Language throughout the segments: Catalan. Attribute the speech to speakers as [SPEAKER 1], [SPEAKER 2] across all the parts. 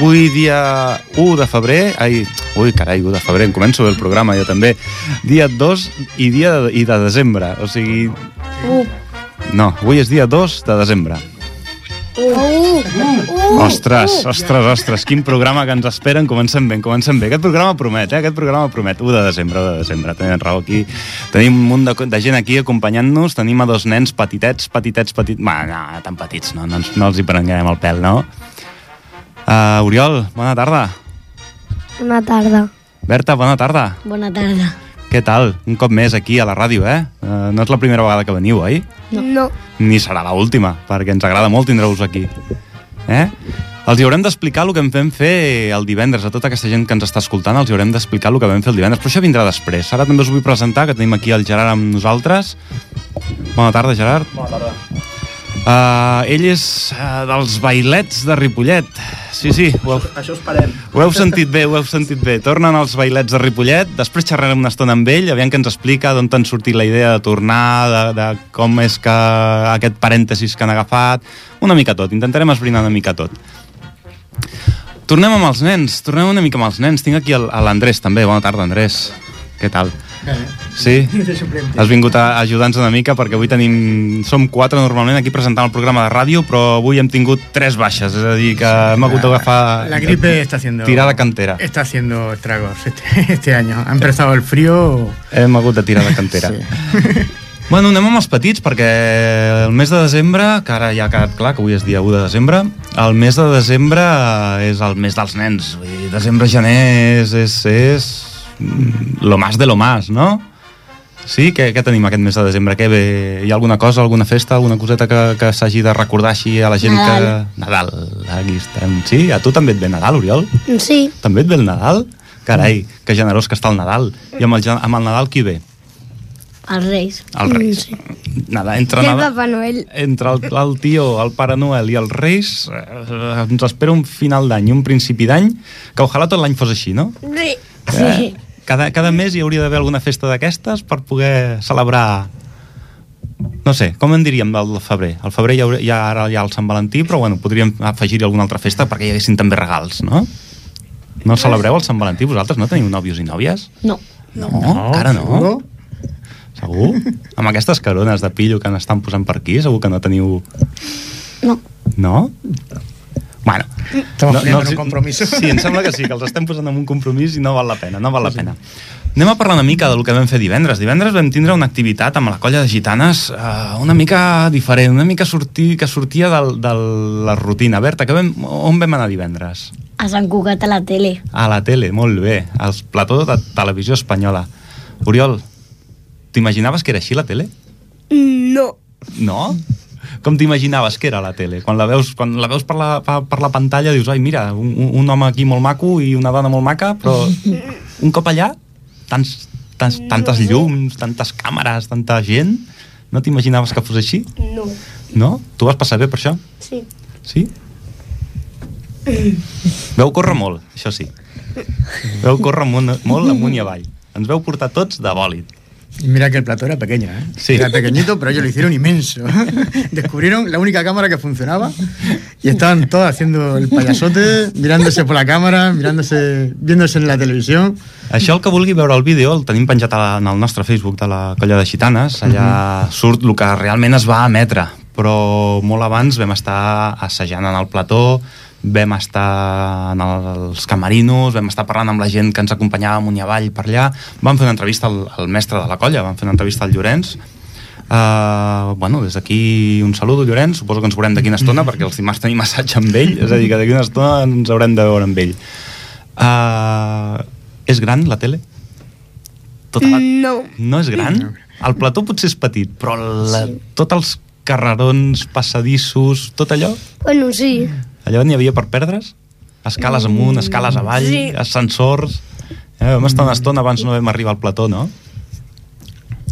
[SPEAKER 1] avui dia 1 de febrer, ai, ui, carai, 1 de febrer, em començo el programa jo també, dia 2 i dia de, i de desembre, o sigui...
[SPEAKER 2] Uh.
[SPEAKER 1] No, avui és dia 2 de desembre.
[SPEAKER 2] Uh. Uh.
[SPEAKER 1] Ostres, ostres, ostres, quin programa que ens esperen, comencem bé, comencem bé. Aquest programa promet, eh? Aquest programa promet. 1 de desembre, 1 de desembre, tenen raó aquí. Tenim un munt de, co- de gent aquí acompanyant-nos, tenim a dos nens petitets, petitets, petits... Va, no, tan petits, no, no, ens- no els hi prenguem el pèl, no? Uh, Oriol, bona tarda.
[SPEAKER 2] Bona tarda.
[SPEAKER 1] Berta, bona tarda.
[SPEAKER 2] Bona tarda.
[SPEAKER 1] Què tal? Un cop més aquí a la ràdio, eh? Uh, no és la primera vegada que veniu, oi?
[SPEAKER 2] No. no.
[SPEAKER 1] Ni serà l'última, perquè ens agrada molt tindre-us aquí. Eh? Els hi haurem d'explicar el que en vam fer el divendres. A tota aquesta gent que ens està escoltant els hi haurem d'explicar el que vam fer el divendres. Però això vindrà després. Ara també us vull presentar, que tenim aquí el Gerard amb nosaltres. Bona tarda, Gerard. Bona tarda. Uh, ell és uh, dels bailets de Ripollet. Sí, sí, ho heu,
[SPEAKER 3] Això esperem.
[SPEAKER 1] ho heu sentit bé, ho heu sentit bé. Tornen els bailets de Ripollet, després xerrarem una estona amb ell, aviam que ens explica d'on t'han sortit la idea de tornar, de, de com és que aquest parèntesis que han agafat, una mica tot, intentarem esbrinar una mica tot. Tornem amb els nens, tornem una mica amb els nens. Tinc aquí el- a l'Andrés també, bona tarda Andrés. Què tal? Sí? Has vingut a ajudar-nos una mica perquè avui tenim... Som quatre normalment aquí presentant el programa de ràdio, però avui hem tingut tres baixes, és a dir, que hem hagut d'agafar...
[SPEAKER 3] La gripe está haciendo...
[SPEAKER 1] Tirar de cantera.
[SPEAKER 3] Está haciendo estragos este, este año. Ha empezado el frío...
[SPEAKER 1] Hem hagut de tirar de cantera. Sí. Bueno, anem amb els petits, perquè el mes de desembre, que ara ja ha quedat clar que avui és dia 1 de desembre, el mes de desembre eh, és el mes dels nens. Vull dir, Desembre-gener és, és, és... mm, Lo más de lo más, no? Sí? Què, què tenim aquest mes de desembre? Què ve? Hi ha alguna cosa, alguna festa, alguna coseta que, que s'hagi de recordar així a la gent
[SPEAKER 2] Nadal.
[SPEAKER 1] que... Nadal. Aquí estem. Sí? A tu també et ve Nadal, Oriol?
[SPEAKER 2] Sí.
[SPEAKER 1] També et ve el Nadal? Carai, que generós que està el Nadal. I amb el, gen- amb el Nadal qui ve?
[SPEAKER 2] Els Reis.
[SPEAKER 1] Els Reis.
[SPEAKER 2] Mm, Sí.
[SPEAKER 1] Nada, entre,
[SPEAKER 2] I el
[SPEAKER 1] Nadal,
[SPEAKER 2] Papa Noel.
[SPEAKER 1] entre el, el tio, el Pare Noel i els Reis eh, eh, ens espera un final d'any, un principi d'any, que ojalà tot l'any fos així, no?
[SPEAKER 2] Sí.
[SPEAKER 1] Eh, cada, cada mes hi hauria d'haver alguna festa d'aquestes per poder celebrar... No sé, com en diríem del febrer? Al febrer hi ha, hi ha ara hi ha el Sant Valentí, però bueno, podríem afegir-hi alguna altra festa perquè hi haguessin també regals, no? No celebreu el Sant Valentí? Vosaltres no teniu nòvios i nòvies?
[SPEAKER 2] No.
[SPEAKER 1] No, no encara no.
[SPEAKER 3] Oh, seguro?
[SPEAKER 1] Segur? Amb aquestes carones de pillo que n'estan posant per aquí, segur que no teniu...
[SPEAKER 2] No.
[SPEAKER 1] No? Bueno,
[SPEAKER 3] Estamos poniendo en un
[SPEAKER 1] els-
[SPEAKER 3] compromiso.
[SPEAKER 1] Sí, em sembla que sí, que els estem posant en un compromís i no val la pena, no val la pena. Anem a parlar una mica del que vam fer divendres. Divendres vam tindre una activitat amb la colla de gitanes eh, una mica diferent, una mica sortir, que sortia del, de la rutina. Berta, que vam, on vam anar divendres?
[SPEAKER 2] A Sant Cugat a la tele.
[SPEAKER 1] A la tele, molt bé, al plató de televisió espanyola. Oriol, t'imaginaves que era així la tele?
[SPEAKER 2] No.
[SPEAKER 1] No? Com t'imaginaves que era la tele? Quan la veus, quan la veus per, la, per, per la pantalla dius, ai, mira, un, un- un home aquí molt maco i una dona molt maca, però un cop allà, tants, tants, tantes llums, tantes càmeres, tanta gent, no t'imaginaves que fos així?
[SPEAKER 2] No.
[SPEAKER 1] No? Tu vas passar bé per això?
[SPEAKER 2] Sí.
[SPEAKER 1] Sí? Veu córrer molt, això sí. Veu córrer molt, molt amunt i avall. Ens veu portar tots de bòlit.
[SPEAKER 3] Y mira que el plató era pequeño, ¿eh?
[SPEAKER 1] Sí.
[SPEAKER 3] Era pequeñito, pero ellos lo hicieron inmenso. Descubrieron la única cámara que funcionaba y estaban todos haciendo el payasote, mirándose por la cámara, mirándose, viéndose en la televisión.
[SPEAKER 1] Això el que vulgui veure el vídeo el tenim penjat a la, en el nostre Facebook de la Colla de Gitanes. Allà surt el que realment es va emetre, però molt abans vam estar assajant en el plató, vam estar en els camerinos, vam estar parlant amb la gent que ens acompanyava amunt i avall per allà. Vam fer una entrevista al, al mestre de la colla, vam fer una entrevista al Llorenç, Uh, bueno, des d'aquí un saludo, Llorenç. Suposo que ens veurem d'aquí una estona, perquè els dimarts tenim assaig amb ell, és a dir, que d'aquí una estona ens haurem de veure amb ell. Uh, és gran, la tele? Tota la...
[SPEAKER 2] No.
[SPEAKER 1] No és gran? El plató potser és petit, però la... sí. tots els carrerons, passadissos, tot allò,
[SPEAKER 2] Bueno, sí.
[SPEAKER 1] allò n'hi havia per perdre's? Escales amunt, escales avall, sí.
[SPEAKER 2] Sí.
[SPEAKER 1] ascensors... Eh, vam estar una estona abans no vam arribar al plató, no?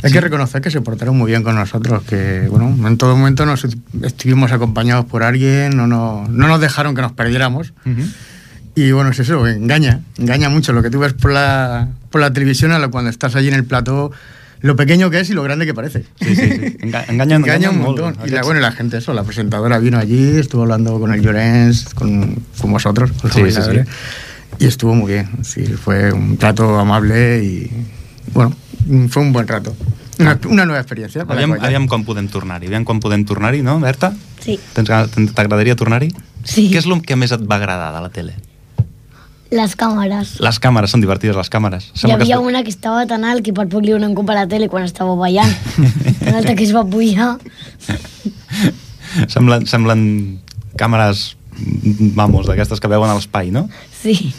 [SPEAKER 3] Hay que reconocer que se portaron muy bien con nosotros, que bueno, en todo momento nos estuvimos acompañados por alguien, no nos, no nos dejaron que nos perdiéramos.
[SPEAKER 1] Uh -huh.
[SPEAKER 3] Y bueno, es eso, engaña, engaña mucho. Lo que tú ves por la, por la televisión a lo cuando estás allí en el plató, lo pequeño que es y lo grande que parece.
[SPEAKER 1] Sí, sí, sí. Enga- engañan-
[SPEAKER 3] Engaña
[SPEAKER 1] engañan
[SPEAKER 3] un
[SPEAKER 1] molt.
[SPEAKER 3] montón. Y la,
[SPEAKER 1] Aquests-
[SPEAKER 3] bueno, la gente, eso, la presentadora vino allí, estuvo hablando con el Llorens, con, con vosotros, con los
[SPEAKER 1] Sí, sí,
[SPEAKER 3] bailadores, y estuvo muy bien. Sí, fue un trato amable y, bueno, fue un buen rato. Una, una nueva experiencia. para
[SPEAKER 1] Aviam,
[SPEAKER 3] Cuellar.
[SPEAKER 1] aviam quan podem tornar-hi, aviam quan podem tornar-hi, no, Berta?
[SPEAKER 2] Sí.
[SPEAKER 1] Tens gana- t- T'agradaria tornar-hi?
[SPEAKER 2] Sí.
[SPEAKER 1] Què és el que més et va agradar de la tele?
[SPEAKER 2] Les càmeres.
[SPEAKER 1] Les càmeres, són divertides les càmeres.
[SPEAKER 2] Hi havia
[SPEAKER 1] es...
[SPEAKER 2] una que estava tan alt que per poc li donen cop a la tele quan estava ballant. Una altra que es va pujar.
[SPEAKER 1] ve- semblen, semblen càmeres, mm, vamos, d'aquestes que veuen a l'espai, no?
[SPEAKER 2] Sí.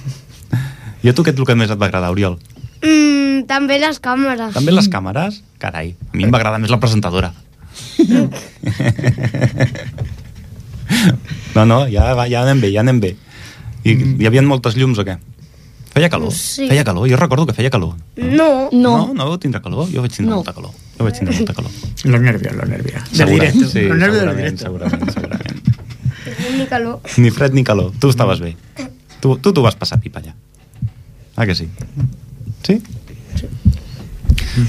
[SPEAKER 1] I a tu què és el que més et va agradar, Oriol?
[SPEAKER 4] Mm, també les càmeres.
[SPEAKER 1] També les càmeres? Carai, a mi em va agradar més la presentadora. No, no, ja, va, ja anem bé, ja anem bé. I hi havia moltes llums o què? Feia calor,
[SPEAKER 4] Mm. Sí.
[SPEAKER 1] feia calor, jo recordo que feia calor.
[SPEAKER 4] No.
[SPEAKER 2] No.
[SPEAKER 1] no, no vau tindre calor? Jo vaig tindre
[SPEAKER 2] No.
[SPEAKER 1] molta calor. Jo vaig tindre molta calor.
[SPEAKER 3] Los nervios, los nervios. Del
[SPEAKER 1] Segurament,
[SPEAKER 3] directo.
[SPEAKER 1] Sí,
[SPEAKER 3] los nervios del
[SPEAKER 1] segurament,
[SPEAKER 3] directo.
[SPEAKER 1] segurament, segurament.
[SPEAKER 4] Ni calor.
[SPEAKER 1] Ni fred ni calor, tu estaves bé. Tu tu t'ho vas passar pipa allà. Ah, que sí? Sí?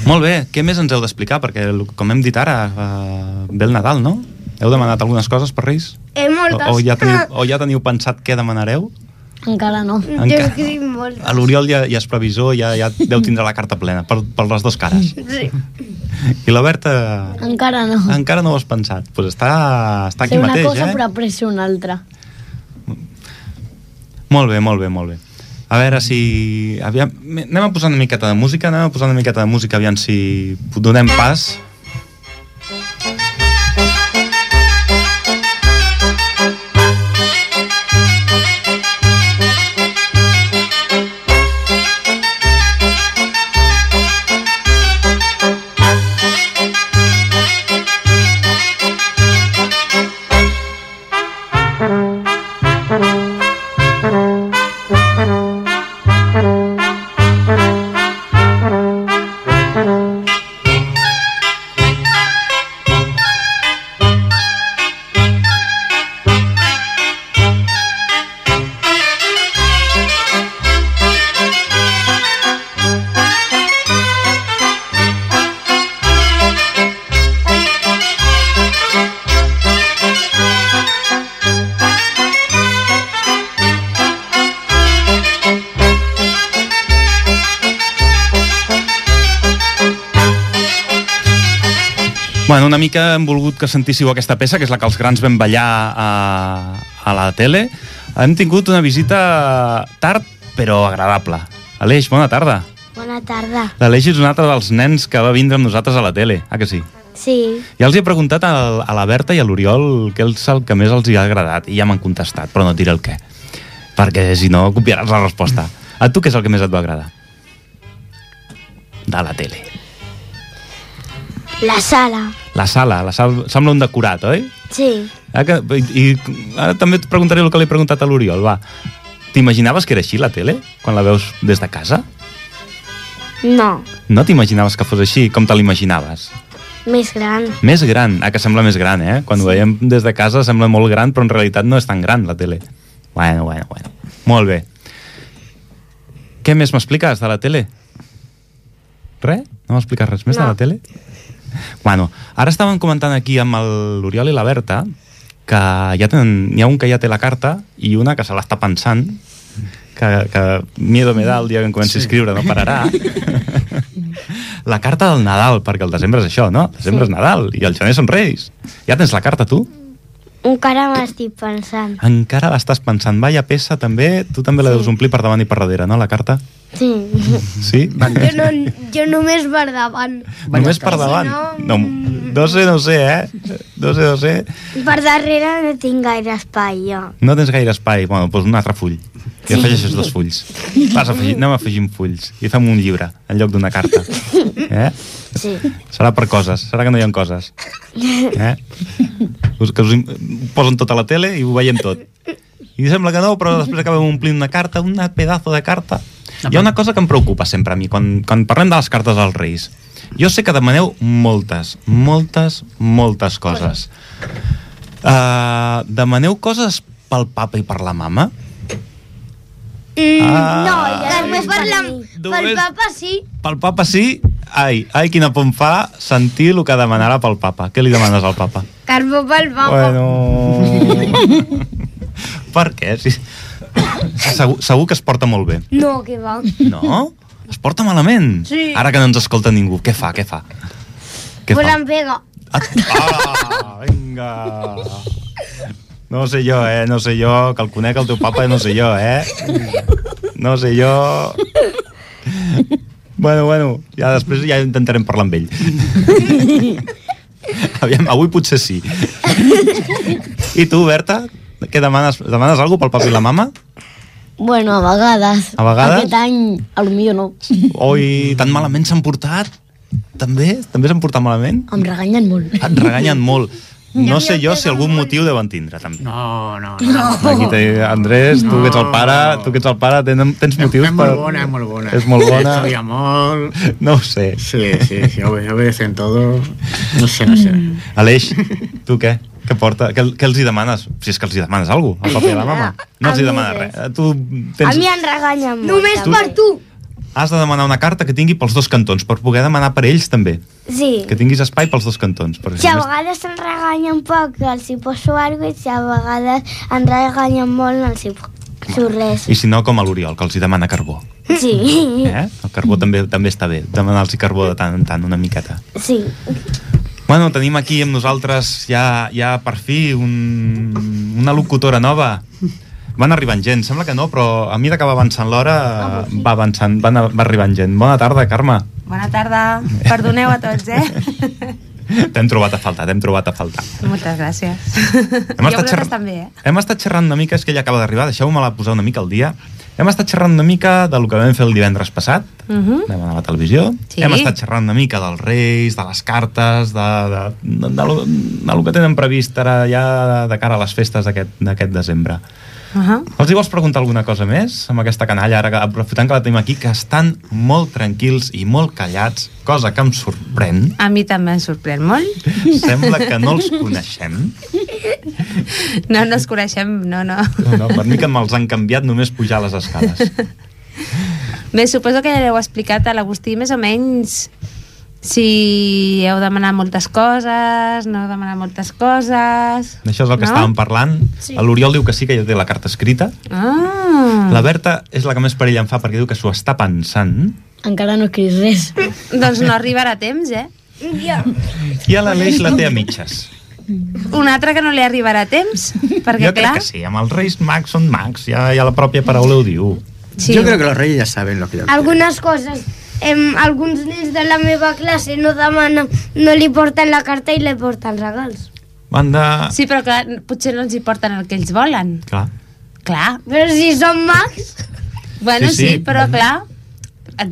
[SPEAKER 1] Molt bé, què més ens heu d'explicar? Perquè, el- com hem dit ara, eh, ve el Nadal, no? Heu demanat algunes coses per Reis?
[SPEAKER 4] Eh,
[SPEAKER 1] O,
[SPEAKER 4] moltes.
[SPEAKER 1] o, ja teniu, o ja teniu pensat què demanareu?
[SPEAKER 2] Encara no.
[SPEAKER 4] Jo
[SPEAKER 1] encara
[SPEAKER 4] que dic moltes.
[SPEAKER 1] A l'Oriol ja, ja és previsor, ja, ja deu tindre la carta plena, per, per les dues cares.
[SPEAKER 4] Sí.
[SPEAKER 1] I la Berta...
[SPEAKER 2] Encara no.
[SPEAKER 1] Ah. Encara no ho has pensat. Doncs pues està, està aquí
[SPEAKER 2] Sé una
[SPEAKER 1] mateix,
[SPEAKER 2] cosa
[SPEAKER 1] eh?
[SPEAKER 2] però après una altra.
[SPEAKER 1] Molt bé, molt bé, molt bé. A veure si... Aviam... Anem a posar una miqueta de música, anem a posar una miqueta de música, aviam si donem pas. Bueno, una mica hem volgut que sentíssiu aquesta peça, que és la que els grans vam ballar a, a la tele. Hem tingut una visita tard, però agradable. Aleix, bona tarda.
[SPEAKER 4] Bona tarda.
[SPEAKER 1] L'Aleix és un altre dels nens que va vindre amb nosaltres a la tele, ah que sí?
[SPEAKER 4] Sí.
[SPEAKER 1] Ja els he preguntat al- a la Berta i a l'Oriol què és el que més els hi ha agradat i ja m'han contestat, però no et diré el què. Perquè, si no, copiaràs la resposta. A tu què és el que més et va agradar? De la tele.
[SPEAKER 4] La sala.
[SPEAKER 1] La sala, la sala sembla un decorat, oi?
[SPEAKER 4] Sí.
[SPEAKER 1] Ah, que, i, I ara també et preguntaré el que li he preguntat a l'Oriol, va. T'imaginaves que era així la tele, quan la veus des de casa?
[SPEAKER 4] No.
[SPEAKER 1] No t'imaginaves que fos així, com te l'imaginaves?
[SPEAKER 4] Més gran.
[SPEAKER 1] Més gran, ah, que sembla més gran, eh? Quan ho veiem des de casa sembla molt gran, però en realitat no és tan gran la tele. Bueno, bueno, bueno. Molt bé. Què més m'expliques de la tele? Res? No m'expliques res més de
[SPEAKER 4] No.
[SPEAKER 1] la tele? Bueno, ara estàvem comentant aquí amb el- l'Oriol i la Berta que ja tenen, hi ha un que ja té la carta i una que se l'està pensant que, que miedo me da el dia que em comenci sí. a escriure, no pararà. la carta del Nadal, perquè el desembre és això, no? El desembre sí. és Nadal i el gener són Reis. Ja tens la carta, tu?
[SPEAKER 4] Encara m'estic pensant.
[SPEAKER 1] Encara l'estàs pensant. Vaya peça, també, tu també la deus omplir per davant i per darrere, no, la carta?
[SPEAKER 4] Sí.
[SPEAKER 1] Sí?
[SPEAKER 4] Jo, no, jo només per davant.
[SPEAKER 1] Només per davant.
[SPEAKER 4] Si
[SPEAKER 1] No,
[SPEAKER 4] no,
[SPEAKER 1] no sé, no sé, eh? No sé, no sé.
[SPEAKER 4] Per darrere no tinc gaire espai, jo.
[SPEAKER 1] No tens gaire espai. Bueno, doncs un altre full. I afegeixes dos fulls. Vas afegir, anem afegint fulls. I fem un llibre, en lloc d'una carta. Eh?
[SPEAKER 4] Sí.
[SPEAKER 1] Serà per coses. Serà que no hi ha coses. Eh? Us, que us im- ho posen tot a la tele i ho veiem tot. I sembla que no, però després acabem omplint una carta, una pedazo de carta. Hi ha una cosa que em preocupa sempre a mi, quan, quan parlem de les cartes dels Reis. Jo sé que demaneu moltes, moltes, moltes coses. Uh, demaneu coses pel papa i per la mama?
[SPEAKER 4] Mm,
[SPEAKER 1] Ah.
[SPEAKER 4] No, ja només per la...
[SPEAKER 1] Només-
[SPEAKER 4] Pel papa sí.
[SPEAKER 1] Pel papa sí, Ai, ai, quina por em fa sentir el que demanarà pel papa. Què li demanes al papa?
[SPEAKER 4] Carbó pel papa.
[SPEAKER 1] Bueno... per què? Si... Segur, segur que es porta molt bé.
[SPEAKER 4] No, que va.
[SPEAKER 1] No? Es porta malament?
[SPEAKER 4] Sí.
[SPEAKER 1] Ara que no ens escolta ningú, què fa, què fa? Què
[SPEAKER 4] Pues
[SPEAKER 1] fa?
[SPEAKER 4] em pega.
[SPEAKER 1] Ah, vinga. No sé jo, eh? No sé jo. Que el conec el teu papa, no sé jo, eh? No sé jo... Bueno, bueno, ja després ja intentarem parlar amb ell. Aviam, avui potser sí. I tu, Berta, què demanes? Demanes alguna pel papi i la mama?
[SPEAKER 2] Bueno, a vegades.
[SPEAKER 1] A vegades?
[SPEAKER 2] Aquest any, a lo millor no.
[SPEAKER 1] Oi, tan malament s'han portat? També? També s'han portat malament?
[SPEAKER 2] Em reganyen molt.
[SPEAKER 1] Et reganyen molt. No sé jo si algun motiu deuen tindre, també.
[SPEAKER 5] No, no, no.
[SPEAKER 4] Oh.
[SPEAKER 1] Aquí té Andrés, tu que ets el pare, tu que ets el pare, tens, tens motius
[SPEAKER 5] és
[SPEAKER 1] per...
[SPEAKER 5] molt bona, és molt bona.
[SPEAKER 1] És molt bona.
[SPEAKER 5] Estudia molt...
[SPEAKER 1] No ho sé.
[SPEAKER 5] Sí, sí, sí, obede- obedecen todo. No sé, no sé.
[SPEAKER 6] Mm,
[SPEAKER 1] Aleix, tu què? Què porta? Què, què els hi demanes? Si és que els hi demanes alguna cosa, al paper de la mama. No els hi
[SPEAKER 4] A mi
[SPEAKER 1] demanes
[SPEAKER 4] res.
[SPEAKER 1] res. Tu
[SPEAKER 4] A mi
[SPEAKER 1] tens,
[SPEAKER 4] em reganyen molt.
[SPEAKER 6] Només
[SPEAKER 4] també.
[SPEAKER 6] per tu.
[SPEAKER 1] has de demanar una carta que tingui pels dos cantons, per poder demanar per ells també.
[SPEAKER 4] Sí.
[SPEAKER 1] Que tinguis espai pels dos cantons. Perquè
[SPEAKER 4] Si
[SPEAKER 1] si
[SPEAKER 4] a
[SPEAKER 1] més-
[SPEAKER 4] vegades em reganyen poc, els hi poso alguna cosa, i si a vegades em reganyen molt, no els hi poso res.
[SPEAKER 1] I si no, com a l'Oriol, que els hi demana carbó.
[SPEAKER 4] Sí,
[SPEAKER 1] Eh? El carbó també també està bé, demanar-los carbó de tant en tant, una miqueta.
[SPEAKER 4] sí.
[SPEAKER 1] Bueno, tenim aquí amb nosaltres ja, ja per fi un, una locutora nova. Van arribant gent, sembla que no, però a mesura que va avançant
[SPEAKER 6] Ah,
[SPEAKER 1] l'hora eh, va avançant, van, va arribant gent. Bona tarda, Carme.
[SPEAKER 6] Bona tarda. Perdoneu a tots, eh?
[SPEAKER 1] T'hem trobat a faltar, t'hem trobat a faltar.
[SPEAKER 6] Moltes gràcies. Hem I a vosaltres també, eh?
[SPEAKER 1] hem estat xerrant una mica, és que ella acaba d'arribar, deixeu-me la posar una mica al dia. Hem estat xerrant una mica del que vam fer el divendres passat,
[SPEAKER 6] Uh -huh.
[SPEAKER 1] vam anar a la televisió,
[SPEAKER 6] Sí.
[SPEAKER 1] hem estat xerrant una mica dels reis, de les cartes, de, de, de, de, lo, de lo que tenen previst ara ja de cara a les festes d'aquest d'aquest desembre.
[SPEAKER 6] Uh -huh.
[SPEAKER 1] Els hi vols preguntar alguna cosa més amb aquesta canalla, ara que, aprofitant que la tenim aquí, que estan molt tranquils i molt callats, cosa que em sorprèn.
[SPEAKER 6] A mi també em sorprèn molt.
[SPEAKER 1] Sembla que no els coneixem.
[SPEAKER 6] No, no ens coneixem, no, no.
[SPEAKER 1] No, no, per mi que me'ls han canviat només pujar les escales.
[SPEAKER 6] Bé, suposo que ja l'heu explicat a l'Agustí més o menys si heu demanat moltes coses, no heu demanat moltes coses...
[SPEAKER 1] Això és el que no?
[SPEAKER 6] no?
[SPEAKER 1] estàvem parlant. Sí. L'Oriol diu que sí, que ja té la carta escrita.
[SPEAKER 6] Ah,
[SPEAKER 1] La Berta és la que més perill em fa perquè diu que s'ho està pensant.
[SPEAKER 2] Encara no he escrit res.
[SPEAKER 6] doncs no arribarà a temps, eh?
[SPEAKER 1] I a l'Aleix la té a mitges.
[SPEAKER 6] Un altre que no li arribarà a temps, perquè
[SPEAKER 1] jo crec
[SPEAKER 6] clar...
[SPEAKER 1] que sí, amb els Reis Mags són mags, ja, ja la pròpia paraula ho diu.
[SPEAKER 6] Sí.
[SPEAKER 3] Yo creo que los reyes ya saben lo que yo quiero.
[SPEAKER 4] Algunes coses. Em, alguns nens de la meva classe no demanen, no li porten la carta i li porten regals.
[SPEAKER 1] Van de... Sí.
[SPEAKER 6] Sí, però clar, potser no els hi porten el que ells volen.
[SPEAKER 1] Clar.
[SPEAKER 6] Clar.
[SPEAKER 4] Però si són mags,
[SPEAKER 6] Bueno,
[SPEAKER 1] Sí,
[SPEAKER 6] sí,
[SPEAKER 1] sí.
[SPEAKER 6] sí, però clar,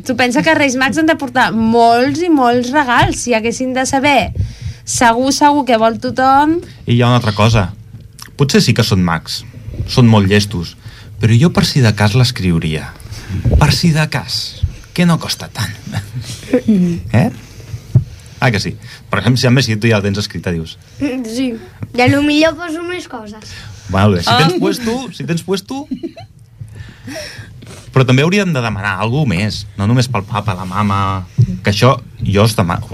[SPEAKER 6] tu pensa que els Reis Mags han de portar molts i molts regals, si haguessin de saber segur, segur que vol tothom...
[SPEAKER 1] I hi ha una altra cosa. Potser sí que són mags, són molt llestos, però jo per si de cas l'escriuria. Per si de cas, que no costa tant.
[SPEAKER 6] Mm.
[SPEAKER 1] Eh? Ah, que sí. Per exemple, si a més si tu ja la tens escrita, dius...
[SPEAKER 4] sí. De lo millor poso més coses.
[SPEAKER 1] Vale, si
[SPEAKER 6] Ah.
[SPEAKER 1] tens puesto, si tens puesto... Però també hauríem de demanar alguna més, no només pel papa, la mama... Que això jo us, demano,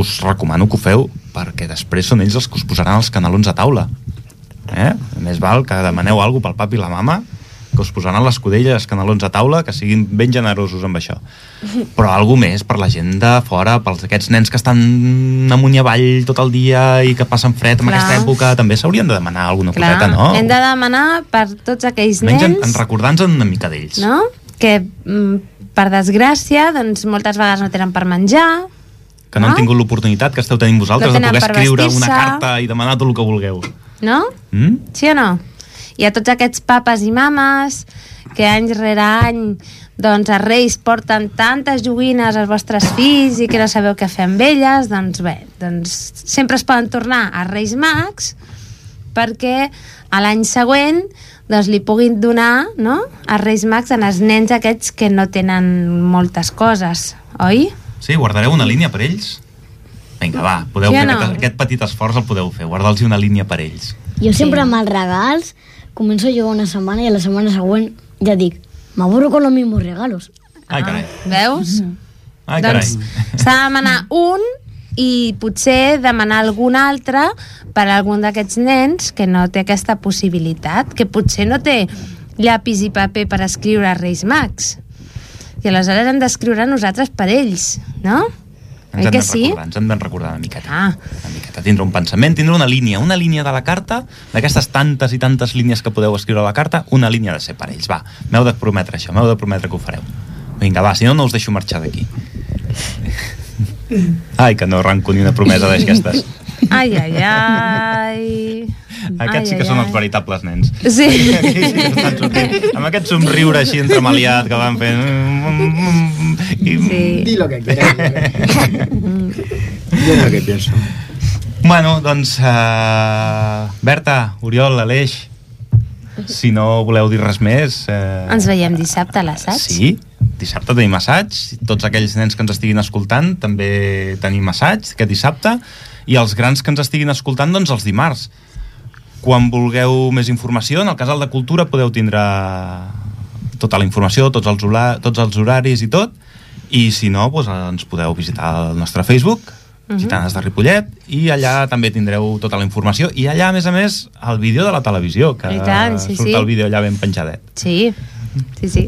[SPEAKER 1] us recomano que ho feu, perquè després són ells els que us posaran els canelons a taula. Eh? Més val que demaneu alguna pel papa i la mama, que us posaran l'escudella i els canelons a taula, que siguin ben generosos amb això. Però alguna més per la gent de fora, pels aquests nens que estan amunt i avall tot el dia i que passen fred en
[SPEAKER 6] Clar.
[SPEAKER 1] aquesta època, també s'haurien de demanar alguna
[SPEAKER 6] Clar,
[SPEAKER 1] coseta, no?
[SPEAKER 6] hem de demanar per tots aquells
[SPEAKER 1] Almenys en, en
[SPEAKER 6] nens,
[SPEAKER 1] recordar-nos una mica d'ells.
[SPEAKER 6] no? que mm, per desgràcia doncs, moltes vegades no tenen per menjar,
[SPEAKER 1] Que no,
[SPEAKER 6] No?
[SPEAKER 1] han tingut l'oportunitat que esteu tenint vosaltres de
[SPEAKER 6] No tenen
[SPEAKER 1] poder
[SPEAKER 6] per
[SPEAKER 1] escriure una
[SPEAKER 6] vestir-se.
[SPEAKER 1] carta i demanar tot el que vulgueu.
[SPEAKER 6] no?
[SPEAKER 1] Mm?
[SPEAKER 6] Sí o no? Hi ha tots aquests papes i mames que any rere any doncs els reis porten tantes joguines als vostres fills i que no sabeu què fer amb elles, doncs bé, doncs sempre es poden tornar a reis mags perquè a l'any següent doncs li puguin donar no? a Reis Mags en els nens aquests que no tenen moltes coses, oi?
[SPEAKER 1] Sí, guardareu una línia per ells? Vinga, va, podeu
[SPEAKER 6] Sí o
[SPEAKER 1] fer
[SPEAKER 6] no?
[SPEAKER 1] aquest, aquest petit esforç el podeu fer, guardar-los una línia per ells.
[SPEAKER 2] Jo sempre
[SPEAKER 6] Sí.
[SPEAKER 2] amb els regals començo a jugar una setmana i a la setmana següent ja dic m'avorro con los mismos regalos.
[SPEAKER 1] Ai, carai.
[SPEAKER 6] Veus?
[SPEAKER 1] Ai,
[SPEAKER 6] Ah. doncs
[SPEAKER 1] Ah, carai.
[SPEAKER 6] s'ha de demanar un i potser demanar algun altre per a algun d'aquests nens que no té aquesta possibilitat, que potser no té llapis i paper per escriure Reis Mags. I aleshores hem d'escriure nosaltres per ells, no?
[SPEAKER 1] Ens
[SPEAKER 6] Oi
[SPEAKER 1] hem
[SPEAKER 6] que
[SPEAKER 1] de
[SPEAKER 6] sí?
[SPEAKER 1] recordar, ens hem de recordar una miqueta.
[SPEAKER 6] Ah.
[SPEAKER 1] Una miqueta, tindre un pensament, tindre una línia, una línia de la carta, d'aquestes tantes i tantes línies que podeu escriure a la carta, una línia de ser per ells. Va, m'heu de prometre això, m'heu de prometre que ho fareu. Vinga, va, si no, no us deixo marxar d'aquí. Ai, que no arranco ni una promesa d'aquestes.
[SPEAKER 6] Ai, ai, ai...
[SPEAKER 1] Aquests sí que són els veritables nens.
[SPEAKER 6] Sí.
[SPEAKER 1] Aquí sí que estan sortint. Amb aquest somriure així entremaliat que van fent... mm, I...
[SPEAKER 6] Sí.
[SPEAKER 5] Di lo que quieras.
[SPEAKER 6] Mm-hmm.
[SPEAKER 5] Yo es lo que pienso.
[SPEAKER 1] Bueno, doncs, uh, Berta, Oriol, Aleix, si no voleu dir res més... Uh,
[SPEAKER 6] Ens veiem dissabte a l'assaig.
[SPEAKER 1] Eh, Sí, dissabte tenim assaig. Tots aquells nens que ens estiguin escoltant també tenim assaig aquest dissabte. I els grans que ens estiguin escoltant, doncs, els dimarts. Quan vulgueu més informació, en el Casal de Cultura podeu tindre tota la informació, tots els, hola- tots els horaris i tot. I si no, doncs, ens podeu visitar al nostre Facebook,
[SPEAKER 6] Mhm.
[SPEAKER 1] Gitanes de Ripollet, i allà també tindreu tota la informació. I allà, a més a més, el vídeo de la televisió, que
[SPEAKER 6] I tant, sí,
[SPEAKER 1] surt
[SPEAKER 6] sí.
[SPEAKER 1] el vídeo allà ben penjadet.
[SPEAKER 6] Sí, sí, sí.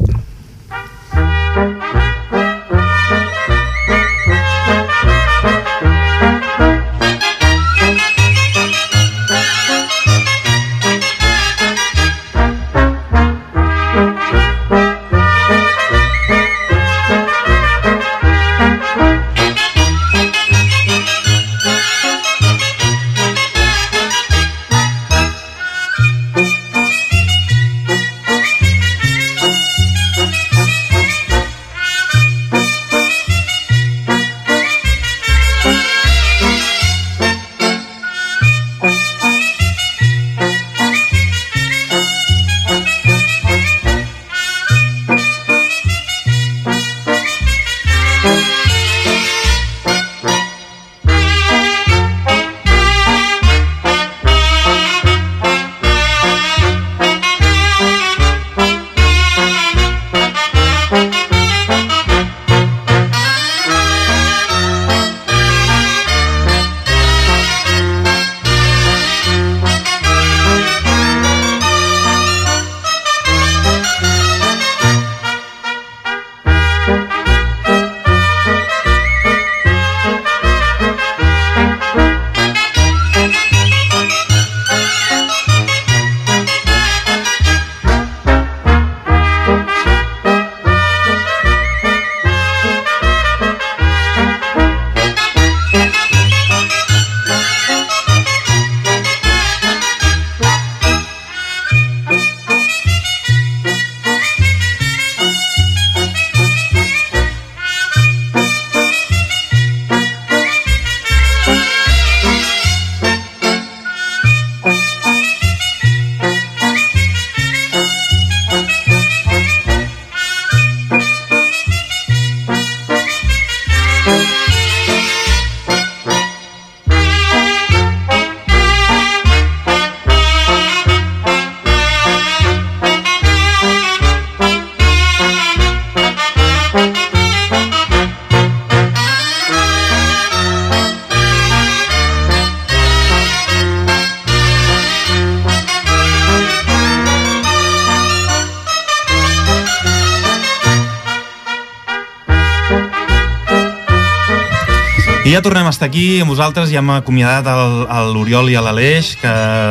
[SPEAKER 1] I ja tornem a estar aquí amb vosaltres, ja hem acomiadat el- a l'Oriol i a l'Aleix, que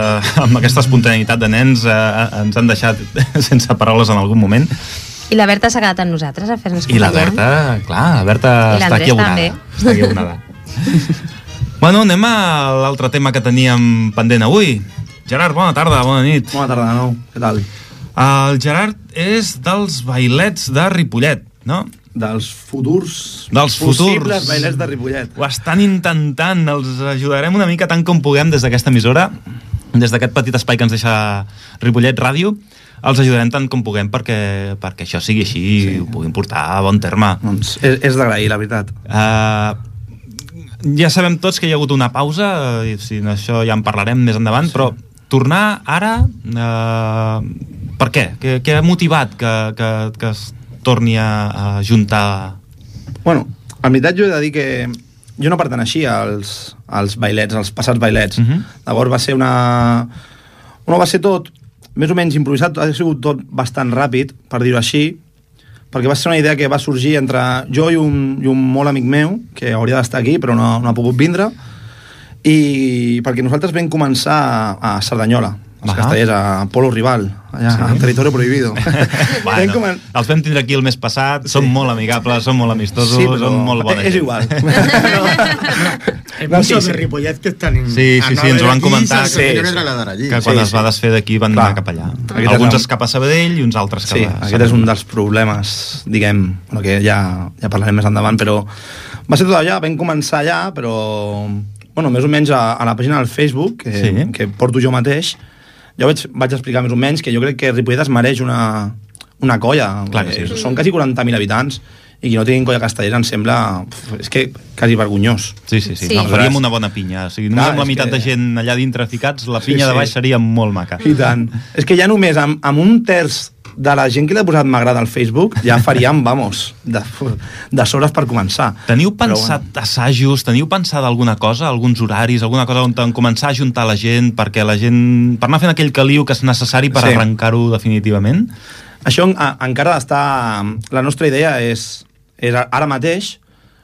[SPEAKER 1] amb aquesta espontaneïtat de nens eh, ens han deixat sense paraules en algun moment.
[SPEAKER 6] I la Berta s'ha quedat amb nosaltres a fer-nos
[SPEAKER 1] I la
[SPEAKER 6] companyia.
[SPEAKER 1] Berta, clar, la Berta
[SPEAKER 6] I
[SPEAKER 1] està aquí
[SPEAKER 6] l'Andrés
[SPEAKER 1] abonada.
[SPEAKER 6] també.
[SPEAKER 1] Està aquí abonada. bueno, anem a l'altre tema que teníem pendent avui. Gerard, bona tarda, bona nit.
[SPEAKER 7] Bona tarda, nou. Què tal?
[SPEAKER 1] El Gerard és dels bailets de Ripollet, no?
[SPEAKER 7] Dels futurs...
[SPEAKER 1] Dels futurs.
[SPEAKER 7] Possibles bailers de Ripollet.
[SPEAKER 1] Ho estan intentant, els ajudarem una mica tant com puguem des d'aquesta emissora, des d'aquest petit espai que ens deixa Ripollet Ràdio, els ajudarem tant com puguem perquè, perquè això sigui així sí. i ho puguin portar a bon terme.
[SPEAKER 7] Doncs és, és d'agrair, la veritat.
[SPEAKER 1] Uh, ja sabem tots que hi ha hagut una pausa, eh, i si no, això ja en parlarem més endavant, sí. però tornar ara, uh, per què? Què, què ha motivat que, que, que es torni a, a juntar
[SPEAKER 7] Bueno, La veritat, jo he de dir que jo no pertaneixia als, als bailets, als passats bailets. Uh
[SPEAKER 1] Mhm.
[SPEAKER 7] -huh. Llavors va ser una... No, va ser tot més o menys improvisat, ha sigut tot bastant ràpid, per dir-ho així, perquè va ser una idea que va sorgir entre jo i un, i un molt amic meu, que hauria d'estar aquí, però no, no ha pogut vindre, i perquè nosaltres vam començar a, a Cerdanyola, als
[SPEAKER 1] Ahà.
[SPEAKER 7] castellers, a Polo Rival, allà, sí. al territori prohibido. Vam
[SPEAKER 1] Bueno,
[SPEAKER 7] comen-
[SPEAKER 1] els vam tindre aquí el mes passat, són molt amigables, són molt amistosos,
[SPEAKER 7] però
[SPEAKER 1] són molt bona
[SPEAKER 7] És
[SPEAKER 1] gent.
[SPEAKER 7] igual.
[SPEAKER 3] El
[SPEAKER 7] No,
[SPEAKER 3] mucho
[SPEAKER 7] sí,
[SPEAKER 3] de
[SPEAKER 7] sí.
[SPEAKER 3] Ripollet que están en...
[SPEAKER 1] Sí, sí, sí, ens ho van comentar.
[SPEAKER 3] Sí,
[SPEAKER 1] Sí,
[SPEAKER 3] sí.
[SPEAKER 1] sí.
[SPEAKER 3] trasladar allí.
[SPEAKER 1] Que quan
[SPEAKER 7] Sí,
[SPEAKER 1] es va
[SPEAKER 7] sí.
[SPEAKER 1] desfer d'aquí van
[SPEAKER 7] Clar.
[SPEAKER 1] anar cap allà.
[SPEAKER 7] Aquest és
[SPEAKER 1] Alguns
[SPEAKER 7] el-
[SPEAKER 1] es cap a Sabadell i uns altres cap
[SPEAKER 7] Sí,
[SPEAKER 1] a...
[SPEAKER 7] aquest és un dels problemes, diguem, bueno, que ja, ja parlarem més endavant, però va ser tot allà, vam començar allà, però bueno, més o menys a, a la pàgina del Facebook, que, sí.
[SPEAKER 1] Sí.
[SPEAKER 7] que porto jo mateix, ja vaig, vaig explicar més o menys que jo crec que Ripollet es mereix una, una colla.
[SPEAKER 1] Clar que
[SPEAKER 7] Eh,
[SPEAKER 1] sí.
[SPEAKER 7] Són quasi 40.000 habitants, i que no tinguin colla castellera em sembla... pf, És que quasi vergonyós.
[SPEAKER 1] Sí, sí, sí.
[SPEAKER 6] Sí.
[SPEAKER 1] sí. No, faríem una bona pinya. O sigui, només
[SPEAKER 7] Clar,
[SPEAKER 1] amb la
[SPEAKER 7] és
[SPEAKER 1] meitat
[SPEAKER 7] que-
[SPEAKER 1] de gent allà dintre ficats, la
[SPEAKER 7] Sí,
[SPEAKER 1] pinya
[SPEAKER 7] sí.
[SPEAKER 1] de baix seria molt maca.
[SPEAKER 7] Mm. I tant. És que ja només amb, amb un terç de la gent que l'ha posat m'agrada al Facebook, ja faríem, vamos, de, de sobres per començar.
[SPEAKER 1] Teniu
[SPEAKER 7] Però
[SPEAKER 1] pensat assajos, teniu pensat alguna cosa, alguns horaris, alguna cosa on en començar a juntar la gent perquè la gent... per anar fent aquell caliu que és necessari per
[SPEAKER 7] Sí.
[SPEAKER 1] sí. arrencar-ho definitivament?
[SPEAKER 7] Això en- a, encara està... La nostra idea és, és a- ara mateix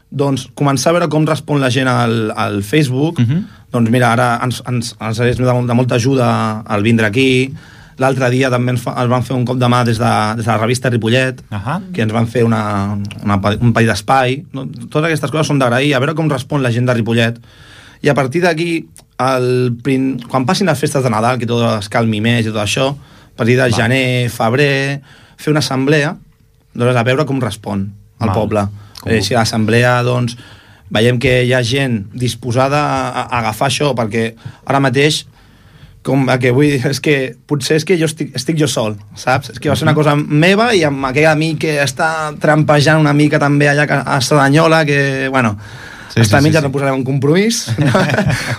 [SPEAKER 7] doncs, començar a veure com respon la gent al, al Facebook. Uh -huh.
[SPEAKER 1] Mhm.
[SPEAKER 7] Doncs mira, ara ens, ens, ens és de, de molta ajuda al vindre aquí. L'altre dia també ens, fa, ens van fer un cop de mà des de, des de la revista Ripollet, uh
[SPEAKER 1] Ahà.
[SPEAKER 7] que ens van fer una, una, pa- un parell d'espai. No? Totes aquestes coses són d'agrair, a veure com respon la gent de Ripollet. I a partir d'aquí, el prin- quan passin les festes de Nadal, que tot es calmi més i tot això, a partir de
[SPEAKER 1] Val.
[SPEAKER 7] gener, febrer, fer una assemblea, doncs a veure com respon el
[SPEAKER 1] Val.
[SPEAKER 7] poble.
[SPEAKER 1] Com
[SPEAKER 7] Eh,
[SPEAKER 1] ho-
[SPEAKER 7] si a l'assemblea, doncs, veiem que hi ha gent disposada a, a agafar això, perquè ara mateix com el que vull dir és que potser és que jo estic, estic jo sol, saps? És que va ser una cosa meva i amb aquell amic que està trampejant una mica també allà que- a Cerdanyola, que, bueno, sí, hasta sí, mi sí, ja sí. no posarem un compromís,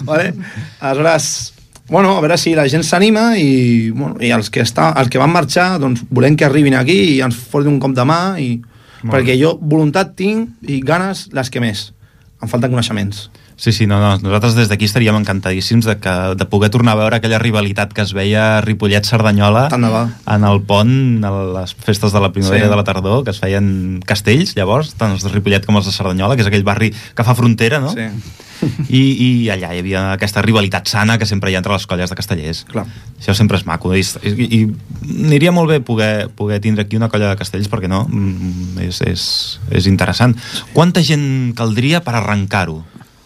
[SPEAKER 7] vale? Aleshores, bueno, a veure si la gent s'anima i, bueno, i els, que està, els que van marxar, doncs volem que arribin aquí i ens fotin un cop de mà i...
[SPEAKER 1] Molt
[SPEAKER 7] perquè
[SPEAKER 1] bé.
[SPEAKER 7] jo voluntat tinc i ganes les que més. Em falten coneixements.
[SPEAKER 1] Sí, sí, no, no. Nosaltres des d'aquí estaríem encantadíssims de, que, de poder tornar a veure aquella rivalitat que es veia a Ripollet-Cerdanyola
[SPEAKER 7] Tant de bo.
[SPEAKER 1] en el pont, a les festes de la
[SPEAKER 7] Sí.
[SPEAKER 1] primavera sí. de la tardor, que es feien castells, llavors, tant els de Ripollet com els de Cerdanyola, que és aquell barri que fa frontera, no?
[SPEAKER 7] Sí,
[SPEAKER 1] I, I allà hi havia aquesta rivalitat sana que sempre hi ha entre les colles de castellers.
[SPEAKER 7] clar.
[SPEAKER 1] Això sempre és maco. I, i, i aniria molt bé poder, poder tindre aquí una colla de castells, perquè no? Mm, és, és, és interessant. Quanta gent caldria per arrencar-ho?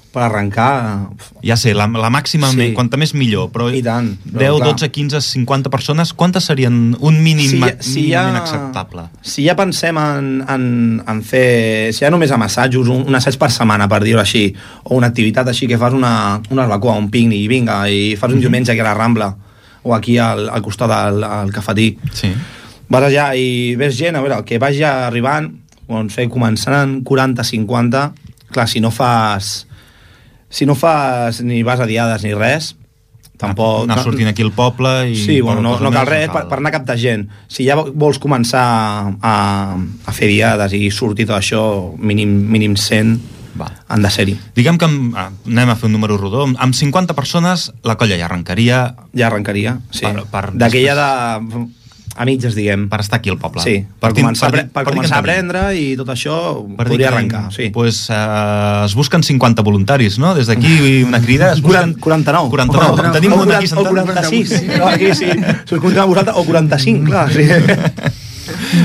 [SPEAKER 7] Per arrencar... uf,
[SPEAKER 1] Ja sé, la, la màxima,
[SPEAKER 7] Sí.
[SPEAKER 1] sí. quanta més millor, però...
[SPEAKER 7] I tant, però
[SPEAKER 1] 10,
[SPEAKER 7] clar.
[SPEAKER 1] 12, 15, 50 persones, quantes serien un mínim,
[SPEAKER 7] Si
[SPEAKER 1] si,
[SPEAKER 7] ja- si
[SPEAKER 1] si mínim
[SPEAKER 7] ja-
[SPEAKER 1] inacceptable?
[SPEAKER 7] Si ja pensem en, en, en fer... Si ja només amb assajos, un, un assaig per setmana, per dir-ho així, o una activitat així que fas una, una barbacoa, un pícnic, i vinga, i fas
[SPEAKER 1] Mhm.
[SPEAKER 7] un diumenge aquí a la Rambla, o aquí al, al costat del al cafetí.
[SPEAKER 1] Sí.
[SPEAKER 7] Vas allà i ves gent, a veure, que vagi arribant, doncs fer començant en 40-50, clar, si no fas... Si no fas ni vas a diades ni res, tampoc...
[SPEAKER 1] Anar sortint aquí al poble i...
[SPEAKER 7] Sí, bueno, no,
[SPEAKER 1] cosa
[SPEAKER 7] no cal
[SPEAKER 1] més,
[SPEAKER 7] res per, per anar a captar gent. Si ja vols començar a, a fer diades i sortir tot això, mínim, mínim 100
[SPEAKER 1] Va.
[SPEAKER 7] han de ser-hi.
[SPEAKER 1] Diguem que amb, ah, anem a fer un número rodó. Amb- Amb 50 persones la colla ja arrencaria
[SPEAKER 7] Ja arrancaria, sí.
[SPEAKER 1] Per- per-
[SPEAKER 7] D'aquella de... a mitges, diguem.
[SPEAKER 1] per estar aquí al poble.
[SPEAKER 7] sí, per,
[SPEAKER 1] tin-
[SPEAKER 7] començar, per,
[SPEAKER 1] dir-
[SPEAKER 7] per,
[SPEAKER 1] dir que
[SPEAKER 7] començar a
[SPEAKER 1] tenim.
[SPEAKER 7] aprendre i tot això
[SPEAKER 1] Per dir
[SPEAKER 7] podria
[SPEAKER 1] que tenim.
[SPEAKER 7] arrencar. Sí.
[SPEAKER 1] Pues, eh, es busquen 50 voluntaris, no? Des d'aquí una crida. Es busquen...
[SPEAKER 7] 49.
[SPEAKER 1] 49.
[SPEAKER 7] O
[SPEAKER 1] Tenim un aquí
[SPEAKER 7] o
[SPEAKER 1] sentat.
[SPEAKER 7] 46. No, aquí sí. Si us comptem a vosaltres, o 45, clar. Sí.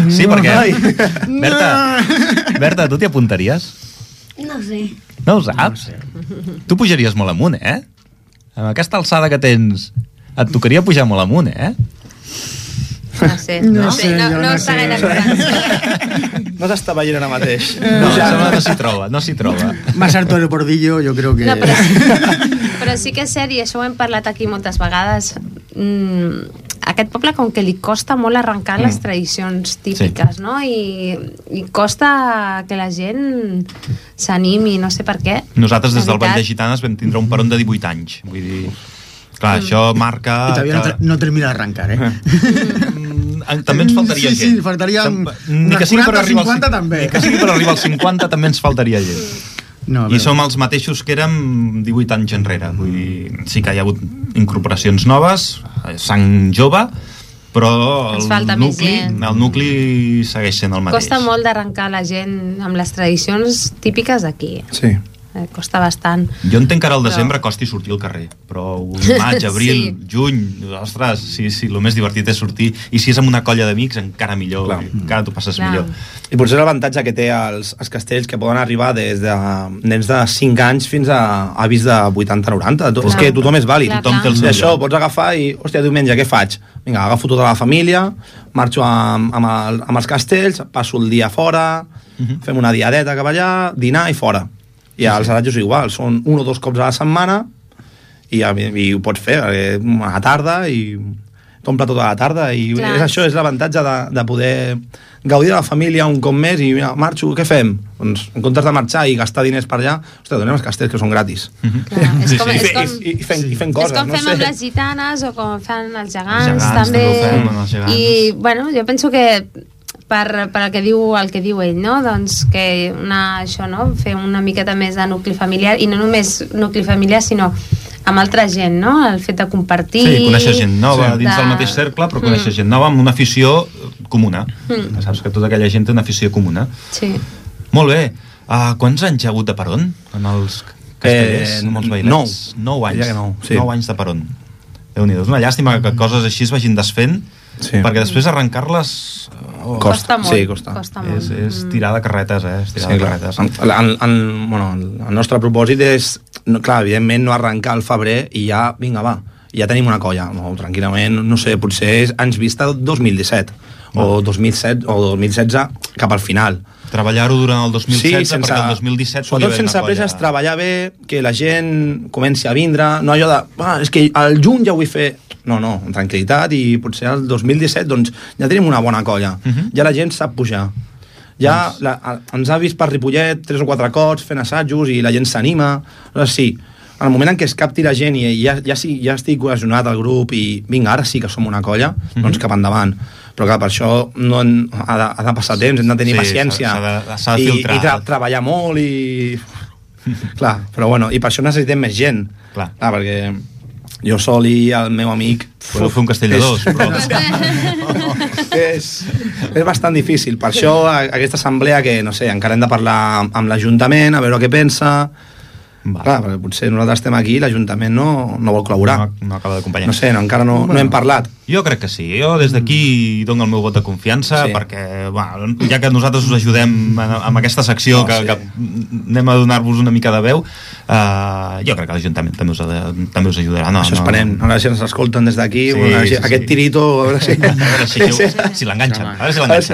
[SPEAKER 1] Sí,
[SPEAKER 7] Ai.
[SPEAKER 1] perquè...
[SPEAKER 5] Ah.
[SPEAKER 1] Berta, Berta, tu t'hi apuntaries?
[SPEAKER 2] No sé.
[SPEAKER 1] No ho saps? Tu pujaries molt amunt, eh? Amb aquesta alçada que tens, et tocaria pujar molt amunt, eh?
[SPEAKER 6] No sé,
[SPEAKER 3] No
[SPEAKER 6] no,
[SPEAKER 3] sé,
[SPEAKER 6] sé, no,
[SPEAKER 3] jo
[SPEAKER 6] no,
[SPEAKER 3] no
[SPEAKER 6] està
[SPEAKER 3] sé.
[SPEAKER 6] gaire clar.
[SPEAKER 7] No s'està veient ara mateix.
[SPEAKER 1] No, em sembla que no s'hi troba, no s'hi troba.
[SPEAKER 3] Más harto de Bordillo, yo creo
[SPEAKER 1] Eh.
[SPEAKER 3] que...
[SPEAKER 6] No, però, però sí que és cert, i això ho hem parlat aquí moltes vegades, mm, aquest poble com que li costa molt arrencar
[SPEAKER 1] Mm.
[SPEAKER 6] les tradicions típiques, no? I, I costa que la gent s'animi, no sé per què.
[SPEAKER 1] Nosaltres des
[SPEAKER 6] La
[SPEAKER 1] del Vall de
[SPEAKER 6] veritat.
[SPEAKER 1] Gitanes vam tindre un peron de 18 anys,
[SPEAKER 6] Mm.
[SPEAKER 1] vull dir... Clar, això marca...
[SPEAKER 3] Y todavía no,
[SPEAKER 1] que-
[SPEAKER 3] ter- no termina de arrancar, ¿eh?
[SPEAKER 1] Mm, en- també ens faltaria
[SPEAKER 3] Sí, sí,
[SPEAKER 1] gent.
[SPEAKER 3] faltaria
[SPEAKER 1] Tamp-
[SPEAKER 3] un-
[SPEAKER 1] Ni que
[SPEAKER 3] unes
[SPEAKER 1] sigui per
[SPEAKER 3] 40,
[SPEAKER 1] arribar als
[SPEAKER 3] 50 també.
[SPEAKER 1] Ni que sigui per arribar als 50 també ens faltaria gent.
[SPEAKER 3] No, a
[SPEAKER 1] I
[SPEAKER 3] veure.
[SPEAKER 1] som els mateixos que érem 18 anys enrere. Vull dir, sí que hi ha hagut incorporacions noves, eh, sang jove, però
[SPEAKER 6] Ens
[SPEAKER 1] el
[SPEAKER 6] falta més
[SPEAKER 1] nucli,
[SPEAKER 6] gent.
[SPEAKER 1] el nucli segueix sent el mateix.
[SPEAKER 6] Costa molt d'arrencar la gent amb les tradicions típiques d'aquí.
[SPEAKER 7] Sí.
[SPEAKER 6] Eh, costa bastant.
[SPEAKER 1] Jo entenc que ara al
[SPEAKER 6] Però-
[SPEAKER 1] desembre costi sortir al carrer, però maig, abril,
[SPEAKER 6] Sí.
[SPEAKER 1] juny, ostres, sí, sí, el més divertit és sortir, i si és amb una colla d'amics encara millor,
[SPEAKER 7] Clar.
[SPEAKER 1] encara t'ho passes
[SPEAKER 6] Clar.
[SPEAKER 1] millor.
[SPEAKER 7] I potser l'avantatge que té els, els castells que poden arribar des de nens de 5 anys fins a avis de 80-90. To- És
[SPEAKER 6] Clar.
[SPEAKER 7] que tothom és vàlid.
[SPEAKER 6] Clar,
[SPEAKER 1] Tothom té el
[SPEAKER 7] I
[SPEAKER 1] seu
[SPEAKER 7] això ho
[SPEAKER 1] lloc.
[SPEAKER 7] pots agafar i, hòstia, diumenge, què faig? Vinga, agafo tota la família, marxo amb, amb, el, amb els castells, passo el dia fora,
[SPEAKER 1] Mhm.
[SPEAKER 7] fem una diadeta cap allà, dinar i fora. I els aratjos igual, són un o dos cops a la setmana i, i ho pots fer eh, a la tarda i t'omple tota la tarda i
[SPEAKER 6] Clar.
[SPEAKER 7] és això, és l'avantatge de, de poder gaudir de la família un cop més i mira, marxo, què fem? Doncs en comptes de marxar i gastar diners per allà, hòstia, donem els castells que són gratis
[SPEAKER 6] Clar, és com,
[SPEAKER 1] Mhm.
[SPEAKER 7] I,
[SPEAKER 1] Sí, sí.
[SPEAKER 6] és
[SPEAKER 7] fe,
[SPEAKER 6] com,
[SPEAKER 7] i, i, fent, i fent
[SPEAKER 6] Coses,
[SPEAKER 7] coses,
[SPEAKER 6] és com fem
[SPEAKER 7] no
[SPEAKER 6] amb
[SPEAKER 7] sé.
[SPEAKER 6] les gitanes o com fan els gegants,
[SPEAKER 1] Els gegants,
[SPEAKER 6] també.
[SPEAKER 1] també ho fem amb els gegants.
[SPEAKER 6] I, bueno, jo penso que per, per el que diu el que diu ell, no? Doncs que una, això, no? Fer una miqueta més de nucli familiar, i no només nucli familiar, sinó amb altra gent, no? El fet de compartir...
[SPEAKER 1] Sí, coneixes gent nova
[SPEAKER 6] de-
[SPEAKER 1] sí. dins del mateix cercle, però coneixes
[SPEAKER 6] Mm.
[SPEAKER 1] gent nova amb una afició eh, comuna. Mm. Saps que tota aquella gent té una afició comuna.
[SPEAKER 6] Mm, Sí.
[SPEAKER 1] Molt bé. Uh, quants anys hi ha hagut de peron en els castellers, eh, amb els bailers? Nou. Nou anys.
[SPEAKER 7] Diria que nou, sí.
[SPEAKER 1] nou anys de peron. déu nhi És una llàstima que coses així es vagin desfent,
[SPEAKER 7] Sí.
[SPEAKER 1] sí. perquè després arrencar-les... Oh,
[SPEAKER 6] Costa, molt.
[SPEAKER 7] Sí, costa.
[SPEAKER 6] costa molt.
[SPEAKER 1] és, és tirar de carretes, eh? És tirar
[SPEAKER 7] Sí,
[SPEAKER 1] de
[SPEAKER 7] clar.
[SPEAKER 1] carretes.
[SPEAKER 7] En, en, en, bueno, el nostre propòsit és, no, clar, evidentment no arrencar al febrer i ja, vinga, va, ja tenim una colla. No, tranquil·lament, no sé, potser és anys vista 2017 o 2007 o 2016 cap al final.
[SPEAKER 1] Treballar-ho durant el 2016 perquè el 2017 pugui
[SPEAKER 7] sobretot
[SPEAKER 1] haver una
[SPEAKER 7] sense
[SPEAKER 1] colla.
[SPEAKER 7] presses, treballar bé, que la gent comenci a vindre, no allò de, ah, és que al juny ja ho vull fer... No, no, amb tranquil·litat i potser el 2017 doncs, ja tenim una bona colla.
[SPEAKER 1] Mhm.
[SPEAKER 7] Ja la gent sap pujar. Ja
[SPEAKER 1] Doncs-
[SPEAKER 7] la, a- ens ha vist per Ripollet tres o quatre cops fent assajos i la gent s'anima. Aleshores, sí, en el moment en què es capti la gent i ja, ja, sí, ja estic cohesionat al grup i vinga, ara sí que som una colla,
[SPEAKER 1] Mhm.
[SPEAKER 7] doncs cap endavant. Però clar, per això no en, ha, de, ha de passar temps, hem de tenir
[SPEAKER 1] Sí,
[SPEAKER 7] paciència.
[SPEAKER 1] s'ha de- s'ha de
[SPEAKER 7] I-
[SPEAKER 1] filtrar.
[SPEAKER 7] I, tra treballar molt i... Clar, però bueno, i per això necessitem més gent.
[SPEAKER 1] Clar.
[SPEAKER 7] Clar perquè jo sol i el meu amic...
[SPEAKER 1] Podeu fer un castell de
[SPEAKER 7] és-
[SPEAKER 1] dos, però...
[SPEAKER 7] és, és bastant difícil. Per això a- aquesta assemblea que, no sé, encara hem de parlar amb- amb l'Ajuntament, a veure què pensa...
[SPEAKER 1] Va.
[SPEAKER 7] Clar, perquè potser nosaltres estem aquí i l'Ajuntament no, no vol col·laborar.
[SPEAKER 1] No, no acaba d'acompanyar.
[SPEAKER 7] No sé, no, encara no, no hem parlat.
[SPEAKER 1] Jo crec que sí. Jo des d'aquí dono el meu vot de
[SPEAKER 7] Mm.
[SPEAKER 1] confiança
[SPEAKER 7] Sí.
[SPEAKER 1] sí. perquè, bueno, ja que nosaltres us ajudem en- amb aquesta secció
[SPEAKER 7] No,
[SPEAKER 1] que,
[SPEAKER 7] Oh, sí.
[SPEAKER 1] sí. que anem a donar-vos una mica de veu, eh, jo crec que l'Ajuntament també, us ha de- també us ajudarà. No,
[SPEAKER 7] Això
[SPEAKER 1] no,
[SPEAKER 7] esperem. A veure si ens escolten des d'aquí.
[SPEAKER 1] Sí,
[SPEAKER 7] Sí,
[SPEAKER 1] sí,
[SPEAKER 7] sí,
[SPEAKER 1] sí.
[SPEAKER 7] aquest tirito... A veure si,
[SPEAKER 1] A veure si, si l'enganxen. A veure si
[SPEAKER 7] A veure si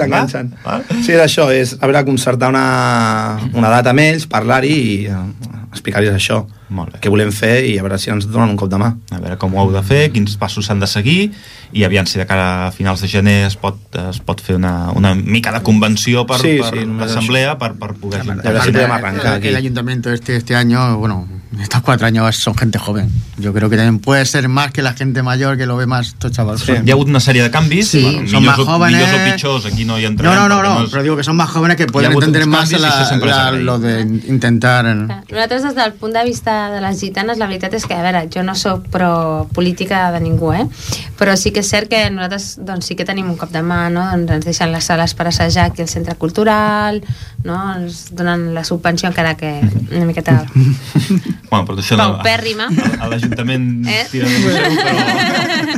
[SPEAKER 7] l'enganxen.
[SPEAKER 1] l'enganxen. va? Va?
[SPEAKER 7] Sí, és això, és a veure, concertar una, una data amb ells, parlar-hi i eh, explicar-los això.
[SPEAKER 1] Molt bé.
[SPEAKER 7] Què volem fer i a veure si ens donen un cop de mà.
[SPEAKER 1] A veure com ho heu de fer, quins passos s'han de seguir i aviam si de cara a finals de gener es pot, es pot fer una, una mica de convenció per,
[SPEAKER 7] Sí,
[SPEAKER 1] sí, per
[SPEAKER 7] sí,
[SPEAKER 1] sí,
[SPEAKER 7] només
[SPEAKER 1] l'assemblea per, per poder
[SPEAKER 7] A veure si
[SPEAKER 1] juntar.
[SPEAKER 7] podem arrancar
[SPEAKER 3] El,
[SPEAKER 7] aquí.
[SPEAKER 3] el ayuntamiento este, este año, bueno, estos cuatro años son gente joven. Yo creo que también puede ser más que la gente mayor que lo ve más estos chavales.
[SPEAKER 7] Sí.
[SPEAKER 1] Hi ha hagut una sèrie de canvis,
[SPEAKER 3] Sí, són
[SPEAKER 1] millors,
[SPEAKER 3] més
[SPEAKER 1] o,
[SPEAKER 3] jóvenes.
[SPEAKER 1] millors o pitjors, aquí no hi
[SPEAKER 3] No,
[SPEAKER 1] entrarem.
[SPEAKER 3] no, no,
[SPEAKER 1] perquè
[SPEAKER 3] no,
[SPEAKER 1] és-
[SPEAKER 3] pero digo que son más jóvenes que
[SPEAKER 1] ha
[SPEAKER 3] pueden
[SPEAKER 1] habido
[SPEAKER 3] entender
[SPEAKER 1] uns
[SPEAKER 3] más
[SPEAKER 1] cambios y eso
[SPEAKER 3] la-
[SPEAKER 1] siempre es
[SPEAKER 3] la-
[SPEAKER 1] agraïdo.
[SPEAKER 3] lo de in- intentar...
[SPEAKER 6] Clar, Nosaltres des del punt de vista de les gitanes, la veritat és que, a veure, jo no sóc pro política de ningú, eh? però sí que és cert que nosaltres doncs, sí que tenim un cop de mà, no? doncs ens deixen les sales per assajar aquí al centre cultural, no? ens donen la subvenció encara que una miqueta
[SPEAKER 1] Bueno, però això no...
[SPEAKER 6] paupèrrima.
[SPEAKER 1] A l'Ajuntament eh?
[SPEAKER 6] Eh?
[SPEAKER 1] tira de museu, però...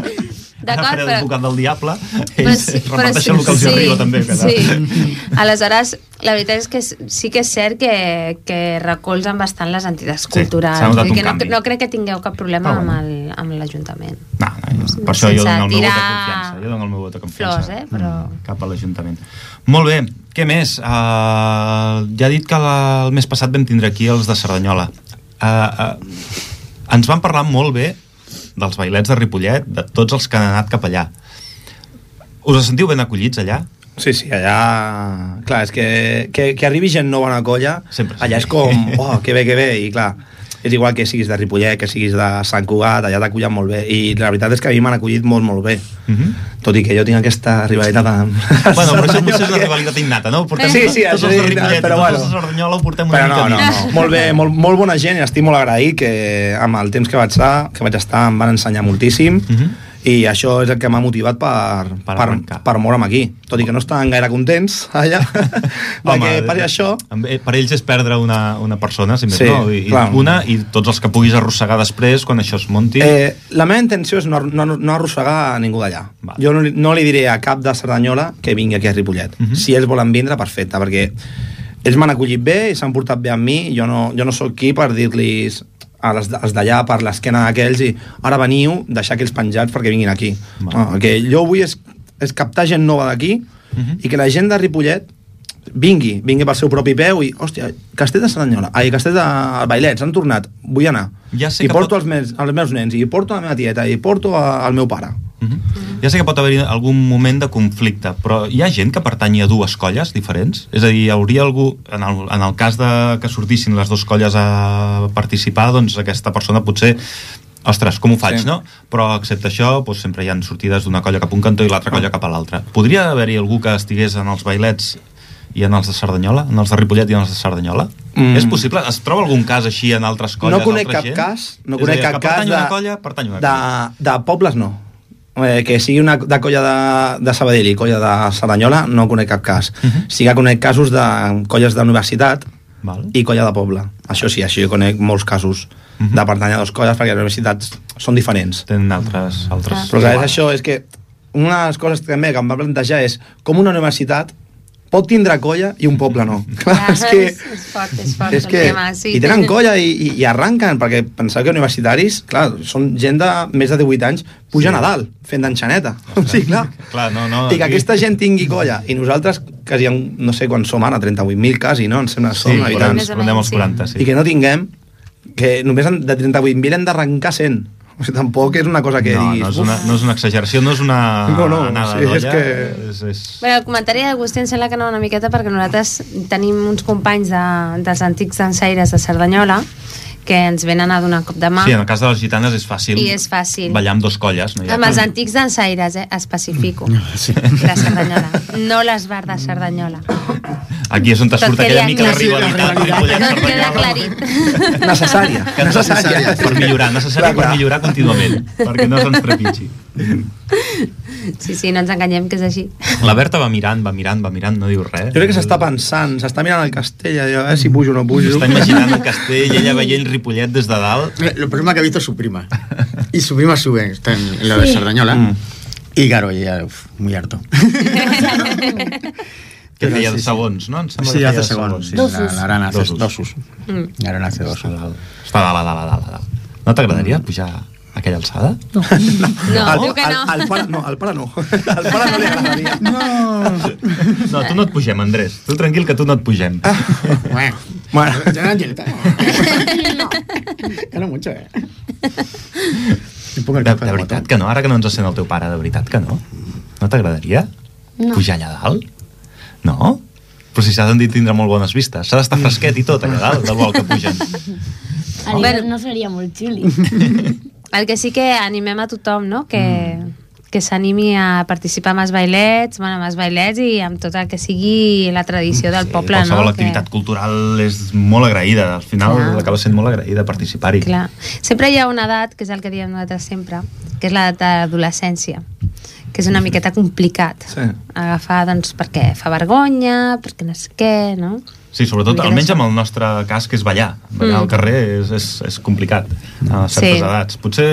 [SPEAKER 6] D'acord,
[SPEAKER 1] però...
[SPEAKER 6] però-
[SPEAKER 1] advocat del diable,
[SPEAKER 6] Però
[SPEAKER 1] ells
[SPEAKER 6] sí- però
[SPEAKER 1] reparteixen el que els
[SPEAKER 6] sí,
[SPEAKER 1] arriba, també. que
[SPEAKER 6] Sí. Aleshores, la veritat és que s- sí que és cert que, que recolzen bastant les entitats culturals.
[SPEAKER 1] s'ha notat
[SPEAKER 6] vull dir
[SPEAKER 1] un
[SPEAKER 6] que no,
[SPEAKER 1] canvi.
[SPEAKER 6] no crec que tingueu cap problema
[SPEAKER 1] Però bueno.
[SPEAKER 6] amb el- amb l'Ajuntament.
[SPEAKER 1] No, no, jo- per això jo
[SPEAKER 6] Sense
[SPEAKER 1] dono el meu vot de
[SPEAKER 6] tirar
[SPEAKER 1] confiança. Jo dono el meu vot de confiança.
[SPEAKER 6] flors, eh, però-
[SPEAKER 1] Mm, Cap a l'Ajuntament. Molt bé, què més? Uh, ja he dit que la, el mes passat vam tindre aquí els de Cerdanyola. Uh, uh, ens van parlar molt bé dels bailets de Ripollet, de tots els que han anat cap allà. Us en sentiu ben acollits allà?
[SPEAKER 7] Sí, sí, allà... Clar, és que, que, que arribi gent nova a una colla,
[SPEAKER 1] Sempre, sí.
[SPEAKER 7] allà és com, oh, que bé, que bé, i clar, és igual que siguis de Ripollet, que siguis de Sant Cugat, allà t'acullen molt bé. I la veritat és que a mi m'han acollit molt, molt bé. Mm
[SPEAKER 1] Mhm.
[SPEAKER 7] -hmm. Tot i que jo tinc aquesta rivalitat amb...
[SPEAKER 1] Bueno, però això potser és una rivalitat innata, no? Portem
[SPEAKER 7] Sí, sí,
[SPEAKER 1] tots
[SPEAKER 7] això
[SPEAKER 1] els de
[SPEAKER 7] és innat,
[SPEAKER 1] Ripollet,
[SPEAKER 7] però
[SPEAKER 1] tots
[SPEAKER 7] bueno.
[SPEAKER 1] els de Cerdanyola ho portem una
[SPEAKER 7] Però no,
[SPEAKER 1] mica
[SPEAKER 7] no,
[SPEAKER 1] dins.
[SPEAKER 7] no. molt bé, molt, molt bona gent i estic molt agraït que amb el temps que vaig estar, que vaig estar em van ensenyar moltíssim
[SPEAKER 1] Mhm.
[SPEAKER 7] i això és el que m'ha motivat per,
[SPEAKER 1] Per
[SPEAKER 7] per,
[SPEAKER 1] arrencar.
[SPEAKER 7] per, per moure'm aquí tot i que no estaven gaire contents allà perquè passi això
[SPEAKER 1] amb- eh, Per ells és perdre una, una persona, si més
[SPEAKER 7] Sí,
[SPEAKER 1] no, i, i
[SPEAKER 7] clar.
[SPEAKER 1] una i tots els que puguis arrossegar després, quan això es munti.
[SPEAKER 7] eh, la meva intenció és no, ar- no, no arrossegar a ningú d'allà
[SPEAKER 1] Val.
[SPEAKER 7] jo no, li- no li diré a cap de Cerdanyola que vingui aquí a Ripollet
[SPEAKER 1] Mhm.
[SPEAKER 7] si ells volen vindre, perfecte perquè ells m'han acollit bé i s'han portat bé amb mi jo no, jo no sóc qui per dir-li a les, els d'allà per l'esquena d'aquells i ara veniu, deixar aquells penjats perquè vinguin aquí
[SPEAKER 1] Val.
[SPEAKER 7] no, el que jo vull és, és captar gent nova d'aquí
[SPEAKER 1] Mhm.
[SPEAKER 7] i que la gent de Ripollet vingui, vingui pel seu propi peu i, hòstia, Castell de Cerdanyola, ai, Castell de Bailets, han tornat, vull anar.
[SPEAKER 1] Ja sé
[SPEAKER 7] I
[SPEAKER 1] que
[SPEAKER 7] porto
[SPEAKER 1] pot-
[SPEAKER 7] els, meus, els meus nens, i porto la meva tieta, i porto a, el meu pare.
[SPEAKER 1] Mhm. Ja sé que pot haver-hi algun moment de conflicte, però hi ha gent que pertanyi a dues colles diferents? És a dir, hi hauria algú, en el, en el cas de que sortissin les dues colles a participar, doncs aquesta persona potser ostres, com ho faig,
[SPEAKER 7] Sí.
[SPEAKER 1] no? Però excepte això, doncs sempre hi han sortides d'una colla cap a un cantó i l'altra
[SPEAKER 7] Ah.
[SPEAKER 1] colla cap a l'altra. Podria haver-hi algú que estigués en els bailets i en els de Cerdanyola? En els de Ripollet i en els de Cerdanyola?
[SPEAKER 7] Mm.
[SPEAKER 1] És possible? Es troba algun cas així en altres colles?
[SPEAKER 7] no conec
[SPEAKER 1] altra
[SPEAKER 7] cap
[SPEAKER 1] gent?
[SPEAKER 7] cas, no
[SPEAKER 1] És a
[SPEAKER 7] conec
[SPEAKER 1] dir,
[SPEAKER 7] cap
[SPEAKER 1] que
[SPEAKER 7] cas
[SPEAKER 1] pertany
[SPEAKER 7] de,
[SPEAKER 1] a una colla, pertany a una
[SPEAKER 7] de,
[SPEAKER 1] colla.
[SPEAKER 7] de pobles no. Eh, que sigui una de colla de, de Sabadell i colla de Cerdanyola, no conec cap cas.
[SPEAKER 1] Mhm.
[SPEAKER 7] Sí que conec casos de colles d'universitat
[SPEAKER 1] Val.
[SPEAKER 7] i colla de poble. Això sí, això jo conec molts casos
[SPEAKER 1] Mhm.
[SPEAKER 7] de pertany a dues colles perquè les universitats són diferents.
[SPEAKER 1] tenen altres...
[SPEAKER 6] Ah.
[SPEAKER 1] altres...
[SPEAKER 7] Però clar, és això, és que una de les coses també que em va plantejar és com una universitat pot tindre colla i un poble no. Clar, és que...
[SPEAKER 6] és, és fort, és fort
[SPEAKER 7] És
[SPEAKER 6] el
[SPEAKER 7] que,
[SPEAKER 6] tema, sí.
[SPEAKER 7] I tenen colla i, i, i arranquen, perquè penseu que universitaris, clar, són gent de més de 18 anys, pugen sí.
[SPEAKER 1] Sí.
[SPEAKER 7] a dalt, fent d'enxaneta. Sí, clar.
[SPEAKER 1] Clar, no, no,
[SPEAKER 7] I que
[SPEAKER 1] aquí-
[SPEAKER 7] aquesta gent tingui colla. I nosaltres, quasi, en- no sé quan som ara, 38.000 quasi, no? Em sembla,
[SPEAKER 1] Sí,
[SPEAKER 7] som habitants.
[SPEAKER 1] habitants,
[SPEAKER 6] Més o menys,
[SPEAKER 1] rondem els
[SPEAKER 6] sí.
[SPEAKER 1] 40, sí.
[SPEAKER 7] I que no tinguem, que només en- de 38.000 hem d'arrancar 100. O sigui, tampoc és una cosa que
[SPEAKER 1] no,
[SPEAKER 7] diguis...
[SPEAKER 1] no, és
[SPEAKER 7] "Uf,
[SPEAKER 1] una, no és una exageració, no és una
[SPEAKER 7] No, no,
[SPEAKER 1] anada
[SPEAKER 7] sí, és
[SPEAKER 1] d'olla,
[SPEAKER 7] que-
[SPEAKER 1] és, és...
[SPEAKER 6] Bé, el comentari d'Agustí em sembla que no una miqueta perquè nosaltres tenim uns companys de, dels antics dansaires de Cerdanyola que ens venen a donar cop de mà.
[SPEAKER 1] Sí, en el cas de les gitanes és fàcil,
[SPEAKER 6] I és fàcil.
[SPEAKER 1] ballar amb dos colles. No hi ha Mm.
[SPEAKER 6] Amb els
[SPEAKER 1] cap-
[SPEAKER 6] antics dansaires, eh? Especifico. Sí. De Cerdanyola. No l'esbar de Cerdanyola.
[SPEAKER 1] Aquí és on te
[SPEAKER 6] Tot
[SPEAKER 1] surt aquella
[SPEAKER 6] queda
[SPEAKER 1] mica de
[SPEAKER 6] clar.
[SPEAKER 1] rivalitat. Ripollet,
[SPEAKER 6] Tot queda
[SPEAKER 1] Cerdanyola.
[SPEAKER 6] clarit.
[SPEAKER 7] necessària,
[SPEAKER 1] Que és necessària
[SPEAKER 7] necessària.
[SPEAKER 1] per millorar, necessària per millorar contínuament, perquè no se'ns trepitgi.
[SPEAKER 6] Sí, sí, no ens enganyem que és així.
[SPEAKER 1] La Berta va mirant, va mirant, va mirant, no diu res.
[SPEAKER 7] Jo crec que s'està pensant, s'està mirant el castell, a veure si pujo o no pujo.
[SPEAKER 1] Està imaginant el castell, ella veient Ripollet des de dalt.
[SPEAKER 3] Mira, Lo problema que ha visto es su prima. Y su prima sube, está en lo de Sardañola.
[SPEAKER 7] Mm.
[SPEAKER 3] Y claro, ya, uf, muy harto.
[SPEAKER 1] Que
[SPEAKER 3] Però
[SPEAKER 1] feia
[SPEAKER 3] sí,
[SPEAKER 1] de
[SPEAKER 3] sí.
[SPEAKER 1] segons, no? Em sembla que
[SPEAKER 3] Sí,
[SPEAKER 1] feia
[SPEAKER 3] hace
[SPEAKER 1] de
[SPEAKER 3] segundos. Sí,
[SPEAKER 2] Dos
[SPEAKER 3] la,
[SPEAKER 2] us.
[SPEAKER 3] la arana hace
[SPEAKER 1] Dos us.
[SPEAKER 3] dos us.
[SPEAKER 6] Mm.
[SPEAKER 3] La arana hace dos
[SPEAKER 1] Està
[SPEAKER 3] us.
[SPEAKER 1] dalt. Està dalt, a dalt, a dalt, a dalt. No t'agradaria pujar a aquella alçada?
[SPEAKER 6] No,
[SPEAKER 7] el,
[SPEAKER 6] diu que no.
[SPEAKER 7] El, el pare, no, el pare no. El pare no li agradaria.
[SPEAKER 1] No, tu no et pugem, Andrés. Tu tranquil, que tu no et pugem.
[SPEAKER 3] Ah, Bueno,
[SPEAKER 7] Bueno,
[SPEAKER 3] ya no entiendo. Gano mucho, eh. Me pongo
[SPEAKER 1] De,
[SPEAKER 3] el
[SPEAKER 1] de
[SPEAKER 3] café de
[SPEAKER 1] veritat
[SPEAKER 3] botón.
[SPEAKER 1] que no, ara que no ens sent el teu pare, de veritat que no? No t'agradaria
[SPEAKER 2] No.
[SPEAKER 1] pujar allà dalt? No? Però si s'ha de tindre molt bones vistes. S'ha d'estar fresquet i tot allà dalt, del vol que pugen.
[SPEAKER 2] A
[SPEAKER 6] Bueno.
[SPEAKER 2] l'hivern no seria molt xuli.
[SPEAKER 6] El que sí que animem a tothom, no? Que, mm. que s'animi a participar amb els bailets, bueno, amb els bailets i amb tot el que sigui la tradició del poble, no?
[SPEAKER 1] qualsevol activitat cultural és molt agraïda. Al final
[SPEAKER 6] Clar.
[SPEAKER 1] acaba sent molt agraïda participar-hi.
[SPEAKER 6] Que, clar. Sempre hi ha una edat, que és el que diem nosaltres sempre, que és l'edat d'adolescència, que és una miqueta complicat
[SPEAKER 7] Sí.
[SPEAKER 6] agafar, doncs, perquè fa vergonya, perquè no sé què, no?
[SPEAKER 1] Sí, sobretot,
[SPEAKER 6] Una mica
[SPEAKER 1] almenys
[SPEAKER 6] d'això.
[SPEAKER 1] amb el nostre cas, que és ballar. Ballar
[SPEAKER 6] Mm.
[SPEAKER 1] al carrer és, és, és complicat a certes
[SPEAKER 6] Sí.
[SPEAKER 1] edats. Potser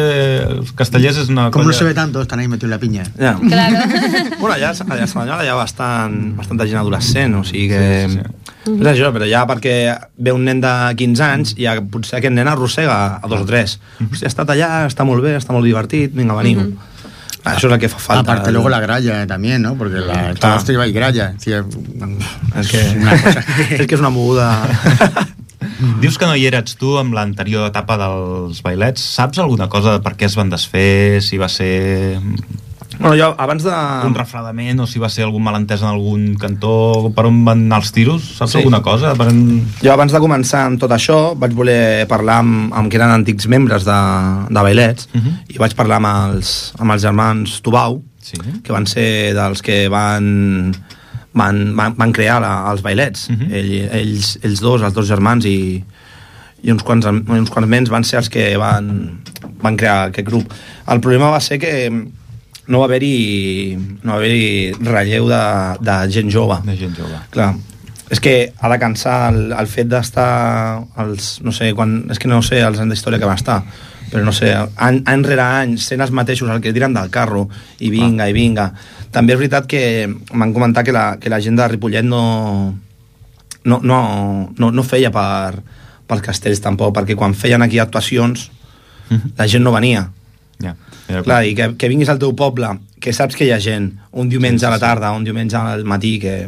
[SPEAKER 1] els castellers és una
[SPEAKER 3] Como no
[SPEAKER 1] colla...
[SPEAKER 3] se ve tanto, están ahí metidos en la piña.
[SPEAKER 7] ja.
[SPEAKER 6] Claro.
[SPEAKER 7] Bueno, allà, allà a Cerdanyola hi ha bastant, bastanta gent adolescent, o sigui que...
[SPEAKER 1] Sí, sí,
[SPEAKER 7] Sí, sí,
[SPEAKER 1] sí.
[SPEAKER 7] És això, però ja perquè ve un nen de 15 anys i ja potser aquest nen arrossega a dos o tres. Hòstia, ha estat allà, està molt bé, està molt divertit, vinga, veniu.
[SPEAKER 6] Mhm.
[SPEAKER 7] Ah, Això és el que fa falta.
[SPEAKER 3] Aparte luego la gralla eh, también, ¿no? Porque la, todo
[SPEAKER 7] Ah.
[SPEAKER 3] esto lleva ahí gralla. eh, Sí, es
[SPEAKER 7] És que,
[SPEAKER 3] una cosa
[SPEAKER 7] és que és una moguda...
[SPEAKER 1] Mm. Dius que no hi eres tu amb l'anterior etapa dels bailets. Saps alguna cosa de per què es van desfer, si va ser
[SPEAKER 7] Bueno, jo abans de...
[SPEAKER 1] un refredament o si va ser algun malentès en algun cantó, per on van anar els tiros, saps
[SPEAKER 7] Sí.
[SPEAKER 1] sí. alguna cosa? Per on...
[SPEAKER 7] Jo abans de començar amb tot això vaig voler parlar amb, amb que eren antics membres de, de Bailets uh -huh.
[SPEAKER 1] Mhm.
[SPEAKER 7] i vaig parlar amb els, amb els germans Tubau
[SPEAKER 1] Sí.
[SPEAKER 7] que van ser dels que van van, van, van crear la, els Bailets uh
[SPEAKER 1] Mhm.
[SPEAKER 7] -huh. Ell, ells, ells dos, els dos germans i, i uns, quants, am- uns quants menys van ser els que van, van crear aquest grup el problema va ser que no va haver-hi no va haver relleu de, de gent jove
[SPEAKER 1] De gent jove.
[SPEAKER 7] Clar, és que ha de cansar el, el fet d'estar els, no sé, quan, és que no sé els anys d'història que van estar però no sé, any, any rere any sent els mateixos el que diran del carro i vinga, i vinga també és veritat que m'han comentat que la, que la gent de Ripollet no no, no, no, no feia per, pels castells tampoc, perquè quan feien aquí actuacions
[SPEAKER 1] Mhm.
[SPEAKER 7] la gent no venia
[SPEAKER 1] Ja. Era
[SPEAKER 7] Clar, i que, que vinguis al teu poble, que saps que hi ha gent, un diumenge a la tarda, un diumenge al matí, que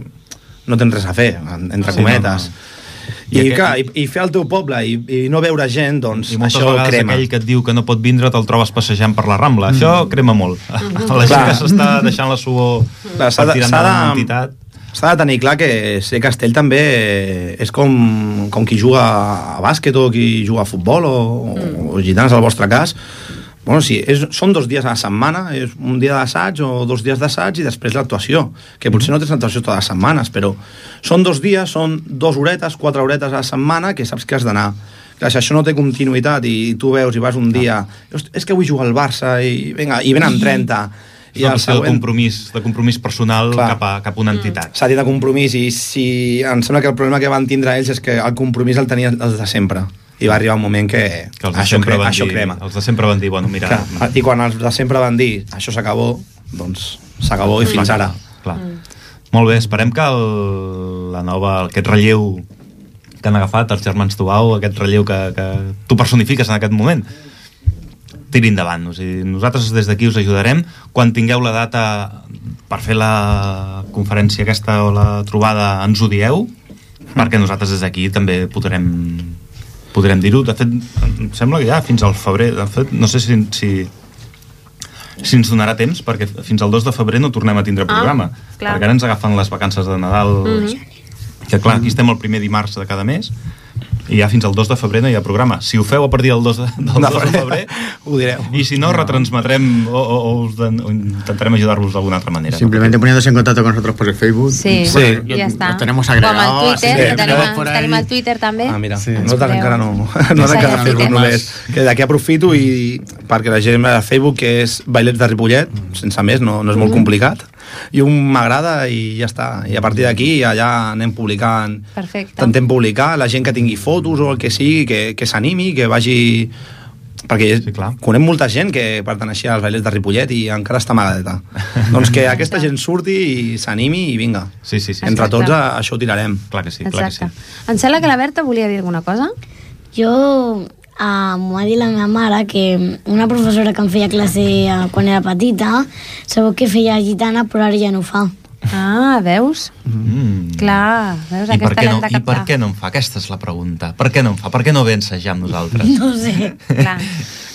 [SPEAKER 7] no tens res a fer, en- entre
[SPEAKER 1] Sí,
[SPEAKER 7] sí, cometes.
[SPEAKER 1] no,
[SPEAKER 7] No, I,
[SPEAKER 1] no. I
[SPEAKER 7] I,
[SPEAKER 1] aquest-
[SPEAKER 7] clar, i, i fer el teu poble i, i no veure gent, doncs
[SPEAKER 1] I moltes
[SPEAKER 7] això
[SPEAKER 1] vegades
[SPEAKER 7] crema.
[SPEAKER 1] aquell que et diu que no pot vindre te'l trobes passejant per la Rambla. Mm. Això crema molt. La gent
[SPEAKER 7] Mm-hmm. Clar.
[SPEAKER 1] que s'està deixant la suor
[SPEAKER 7] Clar,
[SPEAKER 1] per
[SPEAKER 7] s'ha de-
[SPEAKER 1] tirar
[SPEAKER 7] s'ha de-
[SPEAKER 1] endavant una entitat.
[SPEAKER 7] S'ha de tenir clar que ser castell també és com, com qui juga a bàsquet o qui juga a futbol o, mm. o gitanes al vostre cas. Bueno, sí, és, són dos dies a la setmana, és un dia d'assaig o dos dies d'assaig i després l'actuació, que potser no tens actuació totes les setmanes, però són dos dies, són dues horetes, quatre horetes a la setmana que saps que has d'anar. Clar, si això no té continuïtat i tu veus i vas un dia, "Hosti, és que vull jugar al Barça i, vinga, i venen 30
[SPEAKER 1] I el seu compromís, de compromís personal
[SPEAKER 7] Clar.
[SPEAKER 1] cap a, cap a una entitat.
[SPEAKER 7] s'ha dit de compromís i si em sembla que el problema que van tindre ells és que el compromís el tenien els de sempre i va arribar un moment que,
[SPEAKER 1] Que els de,
[SPEAKER 7] Mm. això,
[SPEAKER 1] sempre
[SPEAKER 7] cre
[SPEAKER 1] van
[SPEAKER 7] això
[SPEAKER 1] dir,
[SPEAKER 7] crema
[SPEAKER 1] els de sempre van dir, bueno, mira... mm,
[SPEAKER 7] Clar, ah, i quan els de sempre van dir això s'acabó doncs s'acabó i
[SPEAKER 1] Mm.
[SPEAKER 7] fins ara
[SPEAKER 1] Clar.
[SPEAKER 7] Mm.
[SPEAKER 1] Molt bé, esperem que el, la nova, aquest relleu que han agafat els germans Tubau, aquest relleu que, que tu personifiques en aquest moment, tiri endavant. O sigui, nosaltres des d'aquí us ajudarem. Quan tingueu la data per fer la conferència aquesta o la trobada, ens ho dieu, perquè nosaltres des d'aquí també podrem podrem dir-ho. De fet, em sembla que ja fins al febrer, de fet, no sé si, si, si ens donarà temps, perquè fins al 2 de febrer no tornem a tindre programa. Ah,
[SPEAKER 6] clar. Mhm.
[SPEAKER 1] perquè ara ens agafen les vacances de Nadal, mm -hmm. que clar, aquí estem el primer dimarts de cada mes, i ja fins al 2 de febrer no hi ha programa. Si ho feu a partir del 2 de, del 2 de febrer,
[SPEAKER 7] ho direu
[SPEAKER 1] i si no, retransmetrem o, o, o, us den, o intentarem ajudar-vos d'alguna altra manera.
[SPEAKER 3] Simplemente poniéndose en contacto con nosotros por el Facebook.
[SPEAKER 7] Sí,
[SPEAKER 6] Sí, sí ja està.
[SPEAKER 3] Lo tenemos
[SPEAKER 6] Com el
[SPEAKER 3] agregado.
[SPEAKER 6] Twitter,
[SPEAKER 7] que
[SPEAKER 6] que tenim,
[SPEAKER 3] tenemos por ahí.
[SPEAKER 6] tenim el Twitter també.
[SPEAKER 7] Ah, mira, sí,
[SPEAKER 3] Sí.
[SPEAKER 7] nosaltres
[SPEAKER 6] Ens
[SPEAKER 7] encara no,
[SPEAKER 6] veiem.
[SPEAKER 7] no
[SPEAKER 6] Ens
[SPEAKER 7] encara
[SPEAKER 6] veiem.
[SPEAKER 7] fer no és. Que d'aquí aprofito i perquè la gent a Facebook que és Bailets de Ripollet,
[SPEAKER 1] Mm.
[SPEAKER 7] sense més, no, no és molt complicat. I un m'agrada i ja està. I a partir d'aquí allà anem publicant,
[SPEAKER 6] Perfecte.
[SPEAKER 7] intentem publicar, la gent que tingui fotos o el que sigui, que, que s'animi, que vagi perquè
[SPEAKER 1] Sí,
[SPEAKER 7] sí,
[SPEAKER 1] clar.
[SPEAKER 7] conec molta gent que perteneixia als bailets de Ripollet i encara està amagadeta. doncs que aquesta gent surti i s'animi i vinga.
[SPEAKER 1] Sí, sí, sí.
[SPEAKER 7] Entre
[SPEAKER 6] Exacte.
[SPEAKER 7] tots a, això ho tirarem.
[SPEAKER 1] Clar que sí, clar que sí.
[SPEAKER 6] Exacte. Em sembla que la Berta volia dir alguna cosa.
[SPEAKER 2] Jo ah, m'ho va dir la meva mare que una professora que em feia classe ah, quan era petita sabeu que feia gitana però ara ja no ho fa.
[SPEAKER 6] Ah, veus?
[SPEAKER 1] Mm.
[SPEAKER 6] Clar, veus,
[SPEAKER 1] I per,
[SPEAKER 6] aquesta
[SPEAKER 1] què no,
[SPEAKER 6] l'hem de
[SPEAKER 1] I per
[SPEAKER 6] captar.
[SPEAKER 1] què no en fa? Aquesta és la pregunta. Per què no en fa? Per què no ve a ensejar amb nosaltres?
[SPEAKER 2] No ho sé.
[SPEAKER 6] Clar,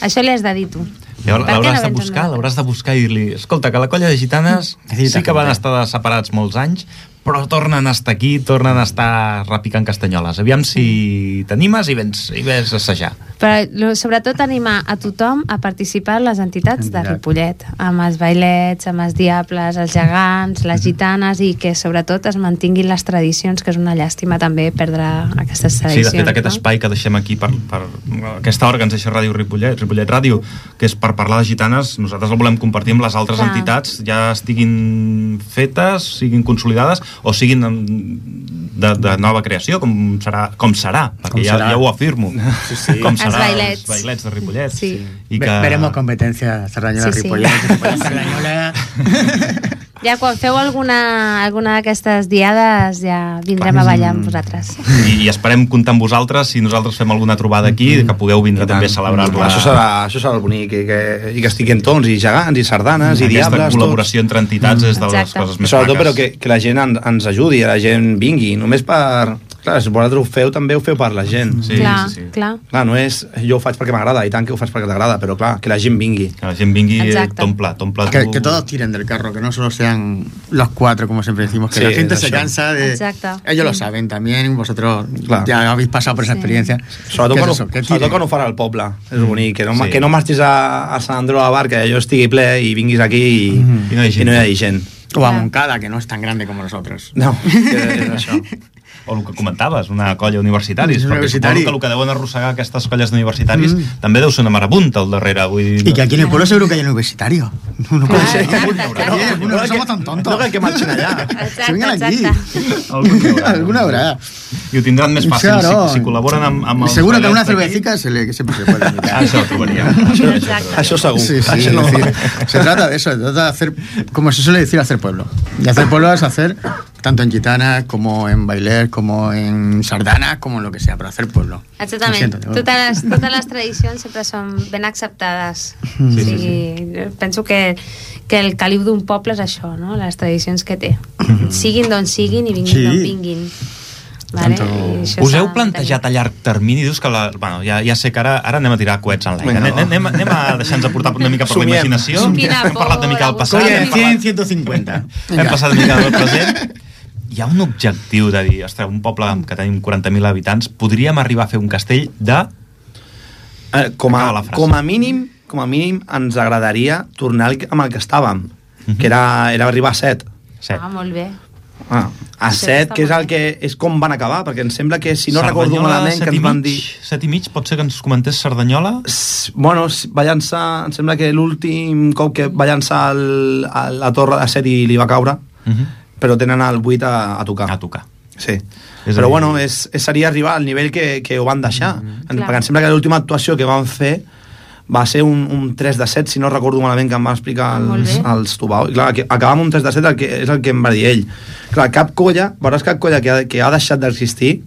[SPEAKER 6] això li has de dir tu. Per què
[SPEAKER 1] L'hauràs de
[SPEAKER 6] vens amb
[SPEAKER 1] buscar,
[SPEAKER 6] nosaltres? Mm.
[SPEAKER 1] l'hauràs de buscar i dir-li escolta, que la colla de gitanes sí que van estar separats molts anys, però tornen a estar aquí, tornen a estar repicant castanyoles. Aviam si t'animes i vens, i vens a assajar.
[SPEAKER 6] Però lo- sobretot animar a tothom a participar en les entitats de Ripollet, amb els bailets, amb els diables, els gegants, les
[SPEAKER 1] Mhm.
[SPEAKER 6] gitanes, i que sobretot es mantinguin les tradicions, que és una llàstima també perdre aquestes
[SPEAKER 1] Sí,
[SPEAKER 6] tradicions.
[SPEAKER 1] de fet, aquest
[SPEAKER 6] no?
[SPEAKER 1] espai que deixem aquí per, per aquesta hora que ens deixa Ràdio Ripollet, Ripollet Ràdio, que és per parlar de gitanes, nosaltres el volem compartir amb les altres
[SPEAKER 6] Clar.
[SPEAKER 1] entitats, ja estiguin fetes, siguin consolidades, o siguin mm, de, de nova creació, com serà, com serà perquè
[SPEAKER 3] Com
[SPEAKER 1] ja,
[SPEAKER 3] serà.
[SPEAKER 1] ja ho afirmo, sí, sí. com
[SPEAKER 6] Els
[SPEAKER 1] serà
[SPEAKER 6] bailets.
[SPEAKER 1] els bailets de Ripollet.
[SPEAKER 6] Sí.
[SPEAKER 1] I
[SPEAKER 3] Ve-
[SPEAKER 1] que...
[SPEAKER 3] Veremos competencia Cerdañola
[SPEAKER 6] Sí, sí.
[SPEAKER 3] Ripollet, Ripollet, Cerdañola.
[SPEAKER 6] Ja quan feu alguna, alguna d'aquestes diades ja vindrem a ballar amb vosaltres.
[SPEAKER 1] I, I esperem comptar amb vosaltres si nosaltres fem alguna trobada aquí, que pugueu vindre també a celebrar-la.
[SPEAKER 7] Això serà, això serà el bonic, i que, i que estiguin tons, i gegants, i sardanes, i diables...
[SPEAKER 1] Aquesta
[SPEAKER 7] tots.
[SPEAKER 1] col·laboració entre entitats és de les
[SPEAKER 6] Exacte.
[SPEAKER 1] coses més
[SPEAKER 7] Sobretot,
[SPEAKER 1] maques.
[SPEAKER 7] però que, que la gent en, ens ajudi, la gent vingui, només per Clar, si vosaltres ho feu, també ho feu per la gent.
[SPEAKER 1] Sí,
[SPEAKER 6] clar,
[SPEAKER 1] sí, sí.
[SPEAKER 6] clar.
[SPEAKER 7] Clar, no és jo ho faig perquè m'agrada, i tant que ho faig perquè t'agrada, però clar, que la gent vingui.
[SPEAKER 1] Que la gent vingui, eh,
[SPEAKER 6] Exacte.
[SPEAKER 1] t'omple, t'omple
[SPEAKER 3] Que,
[SPEAKER 1] tu-
[SPEAKER 3] que todos tiren del carro, que no solo sean los cuatro, como siempre decimos, que
[SPEAKER 7] Sí,
[SPEAKER 3] la gente
[SPEAKER 7] es
[SPEAKER 3] se
[SPEAKER 7] eso.
[SPEAKER 3] cansa de...
[SPEAKER 6] Exacto.
[SPEAKER 3] Ellos lo saben también, vosotros
[SPEAKER 7] Claro.
[SPEAKER 3] ya habéis pasado por esa
[SPEAKER 6] Sí.
[SPEAKER 3] experiencia.
[SPEAKER 7] Sobretot
[SPEAKER 3] Que
[SPEAKER 7] quan,
[SPEAKER 3] es eso,
[SPEAKER 7] ho,
[SPEAKER 3] que
[SPEAKER 7] sobretot
[SPEAKER 3] tiren.
[SPEAKER 7] quan ho farà el poble. És bonic, que no,
[SPEAKER 1] Sí.
[SPEAKER 7] sí. que no marxis a, a Sant Andreu a bar, que allò estigui ple i vinguis aquí i,
[SPEAKER 3] Mm-hmm.
[SPEAKER 1] I no hi ha gent.
[SPEAKER 7] i no hi hagi gent.
[SPEAKER 3] O a Moncada, que no es tan grande como nosotros.
[SPEAKER 7] No, que és això.
[SPEAKER 1] o el que comentaves, una colla universitaris,
[SPEAKER 3] Un
[SPEAKER 1] perquè
[SPEAKER 3] universitari.
[SPEAKER 1] suposo que el que deuen arrossegar aquestes colles d'universitaris mm. també deu ser una marabunta al darrere. Vull dir,
[SPEAKER 3] Y que aquí en el pueblo seguro que hay universitario. No puede ser.
[SPEAKER 6] exacte,
[SPEAKER 3] Alguno,
[SPEAKER 6] exacte.
[SPEAKER 3] alguno, alguno,
[SPEAKER 7] No,
[SPEAKER 3] no
[SPEAKER 7] que-
[SPEAKER 3] somos tan tontos.
[SPEAKER 7] no cal que marxin allà.
[SPEAKER 3] Se vengan aquí.
[SPEAKER 1] Algun hi haurà.
[SPEAKER 3] Alguna haurà.
[SPEAKER 1] I ho tindran més fàcil
[SPEAKER 3] Claro.
[SPEAKER 1] si, si col·laboren amb, amb els...
[SPEAKER 3] Seguro que
[SPEAKER 1] ballets
[SPEAKER 3] una
[SPEAKER 1] d'aquí.
[SPEAKER 3] cervecica se le, que siempre se puede
[SPEAKER 1] Ah,
[SPEAKER 3] invitar.
[SPEAKER 1] això ho trobaríem. Això, això,
[SPEAKER 6] Exacte.
[SPEAKER 7] Això segur.
[SPEAKER 3] Sí, sí,
[SPEAKER 7] això
[SPEAKER 3] es
[SPEAKER 7] no.
[SPEAKER 3] decir, se trata de eso, se trata de hacer, como se suele decir, hacer pueblo. Y hacer pueblo es hacer tanto en gitanas como en bailers, como en sardanas, como en lo que sea, pero hacer pueblo. Lo
[SPEAKER 6] Exactament.
[SPEAKER 3] siento, te-
[SPEAKER 6] Totes les, totes les tradicions sempre són ben acceptades. Sí, sí, sí. Penso que, que el caliu d'un poble és això, no? les tradicions que té. Siguin d'on siguin i vinguin
[SPEAKER 3] Sí.
[SPEAKER 6] d'on vinguin. Vale? I això
[SPEAKER 1] Us
[SPEAKER 6] s'ha
[SPEAKER 1] heu
[SPEAKER 6] de
[SPEAKER 1] plantejat a llarg termini? Dius que la, bueno, ja, ja sé que ara, ara anem a tirar coets en l'aire.
[SPEAKER 7] Vinga,
[SPEAKER 1] Anem, anem, anem a deixar-nos aportar una mica per la
[SPEAKER 7] Somiem.
[SPEAKER 1] imaginació.
[SPEAKER 6] Quina
[SPEAKER 1] Hem parlat una mica del
[SPEAKER 6] por,
[SPEAKER 1] passat.
[SPEAKER 3] Oye,
[SPEAKER 1] hem
[SPEAKER 3] en
[SPEAKER 1] parlat-
[SPEAKER 3] 100, 150.
[SPEAKER 1] Hem passat una mica del present. Hi ha un objectiu de dir, ostres, un poble amb- que tenim 40.000 habitants, podríem arribar a fer un castell de...
[SPEAKER 7] Eh, com,
[SPEAKER 1] Acaba
[SPEAKER 7] a,
[SPEAKER 1] la frase.
[SPEAKER 7] com a mínim, com a mínim ens agradaria tornar al- amb el que estàvem,
[SPEAKER 1] Mhm.
[SPEAKER 7] que era, era arribar a 7.
[SPEAKER 1] Set.
[SPEAKER 6] Ah, molt bé.
[SPEAKER 7] Ah, a
[SPEAKER 6] Sí,
[SPEAKER 7] 7,
[SPEAKER 6] està
[SPEAKER 7] que és
[SPEAKER 6] molt
[SPEAKER 7] el que és com van acabar, perquè em sembla que, si no recordo
[SPEAKER 1] Cerdanyola,
[SPEAKER 7] malament,
[SPEAKER 1] set
[SPEAKER 7] que
[SPEAKER 1] i
[SPEAKER 7] ens van
[SPEAKER 1] mig?
[SPEAKER 7] dir...
[SPEAKER 1] Set i mig, pot ser que ens comentés Cerdanyola?
[SPEAKER 7] S- Bueno, s- va llançar, em sembla que l'últim cop que va llançar el, a la torre de 7 i li va caure,
[SPEAKER 1] Uh -huh.
[SPEAKER 7] però tenen el 8 a, a tocar.
[SPEAKER 1] A tocar.
[SPEAKER 7] Sí.
[SPEAKER 1] És
[SPEAKER 7] És Però
[SPEAKER 1] a dir-
[SPEAKER 7] bueno, és, és, seria arribar al nivell que, que ho van deixar. Mm -hmm.
[SPEAKER 6] Clar.
[SPEAKER 7] Perquè em sembla que l'última actuació que van fer va ser un, un 3 de 7, si no recordo malament, que em va explicar
[SPEAKER 6] Ah, molt
[SPEAKER 7] els,
[SPEAKER 6] bé.
[SPEAKER 7] els Tubau. I clar, que acabar amb un 3 de 7 el que, és el que em va dir ell. Clar, cap colla, veuràs cap colla que ha, que ha deixat d'existir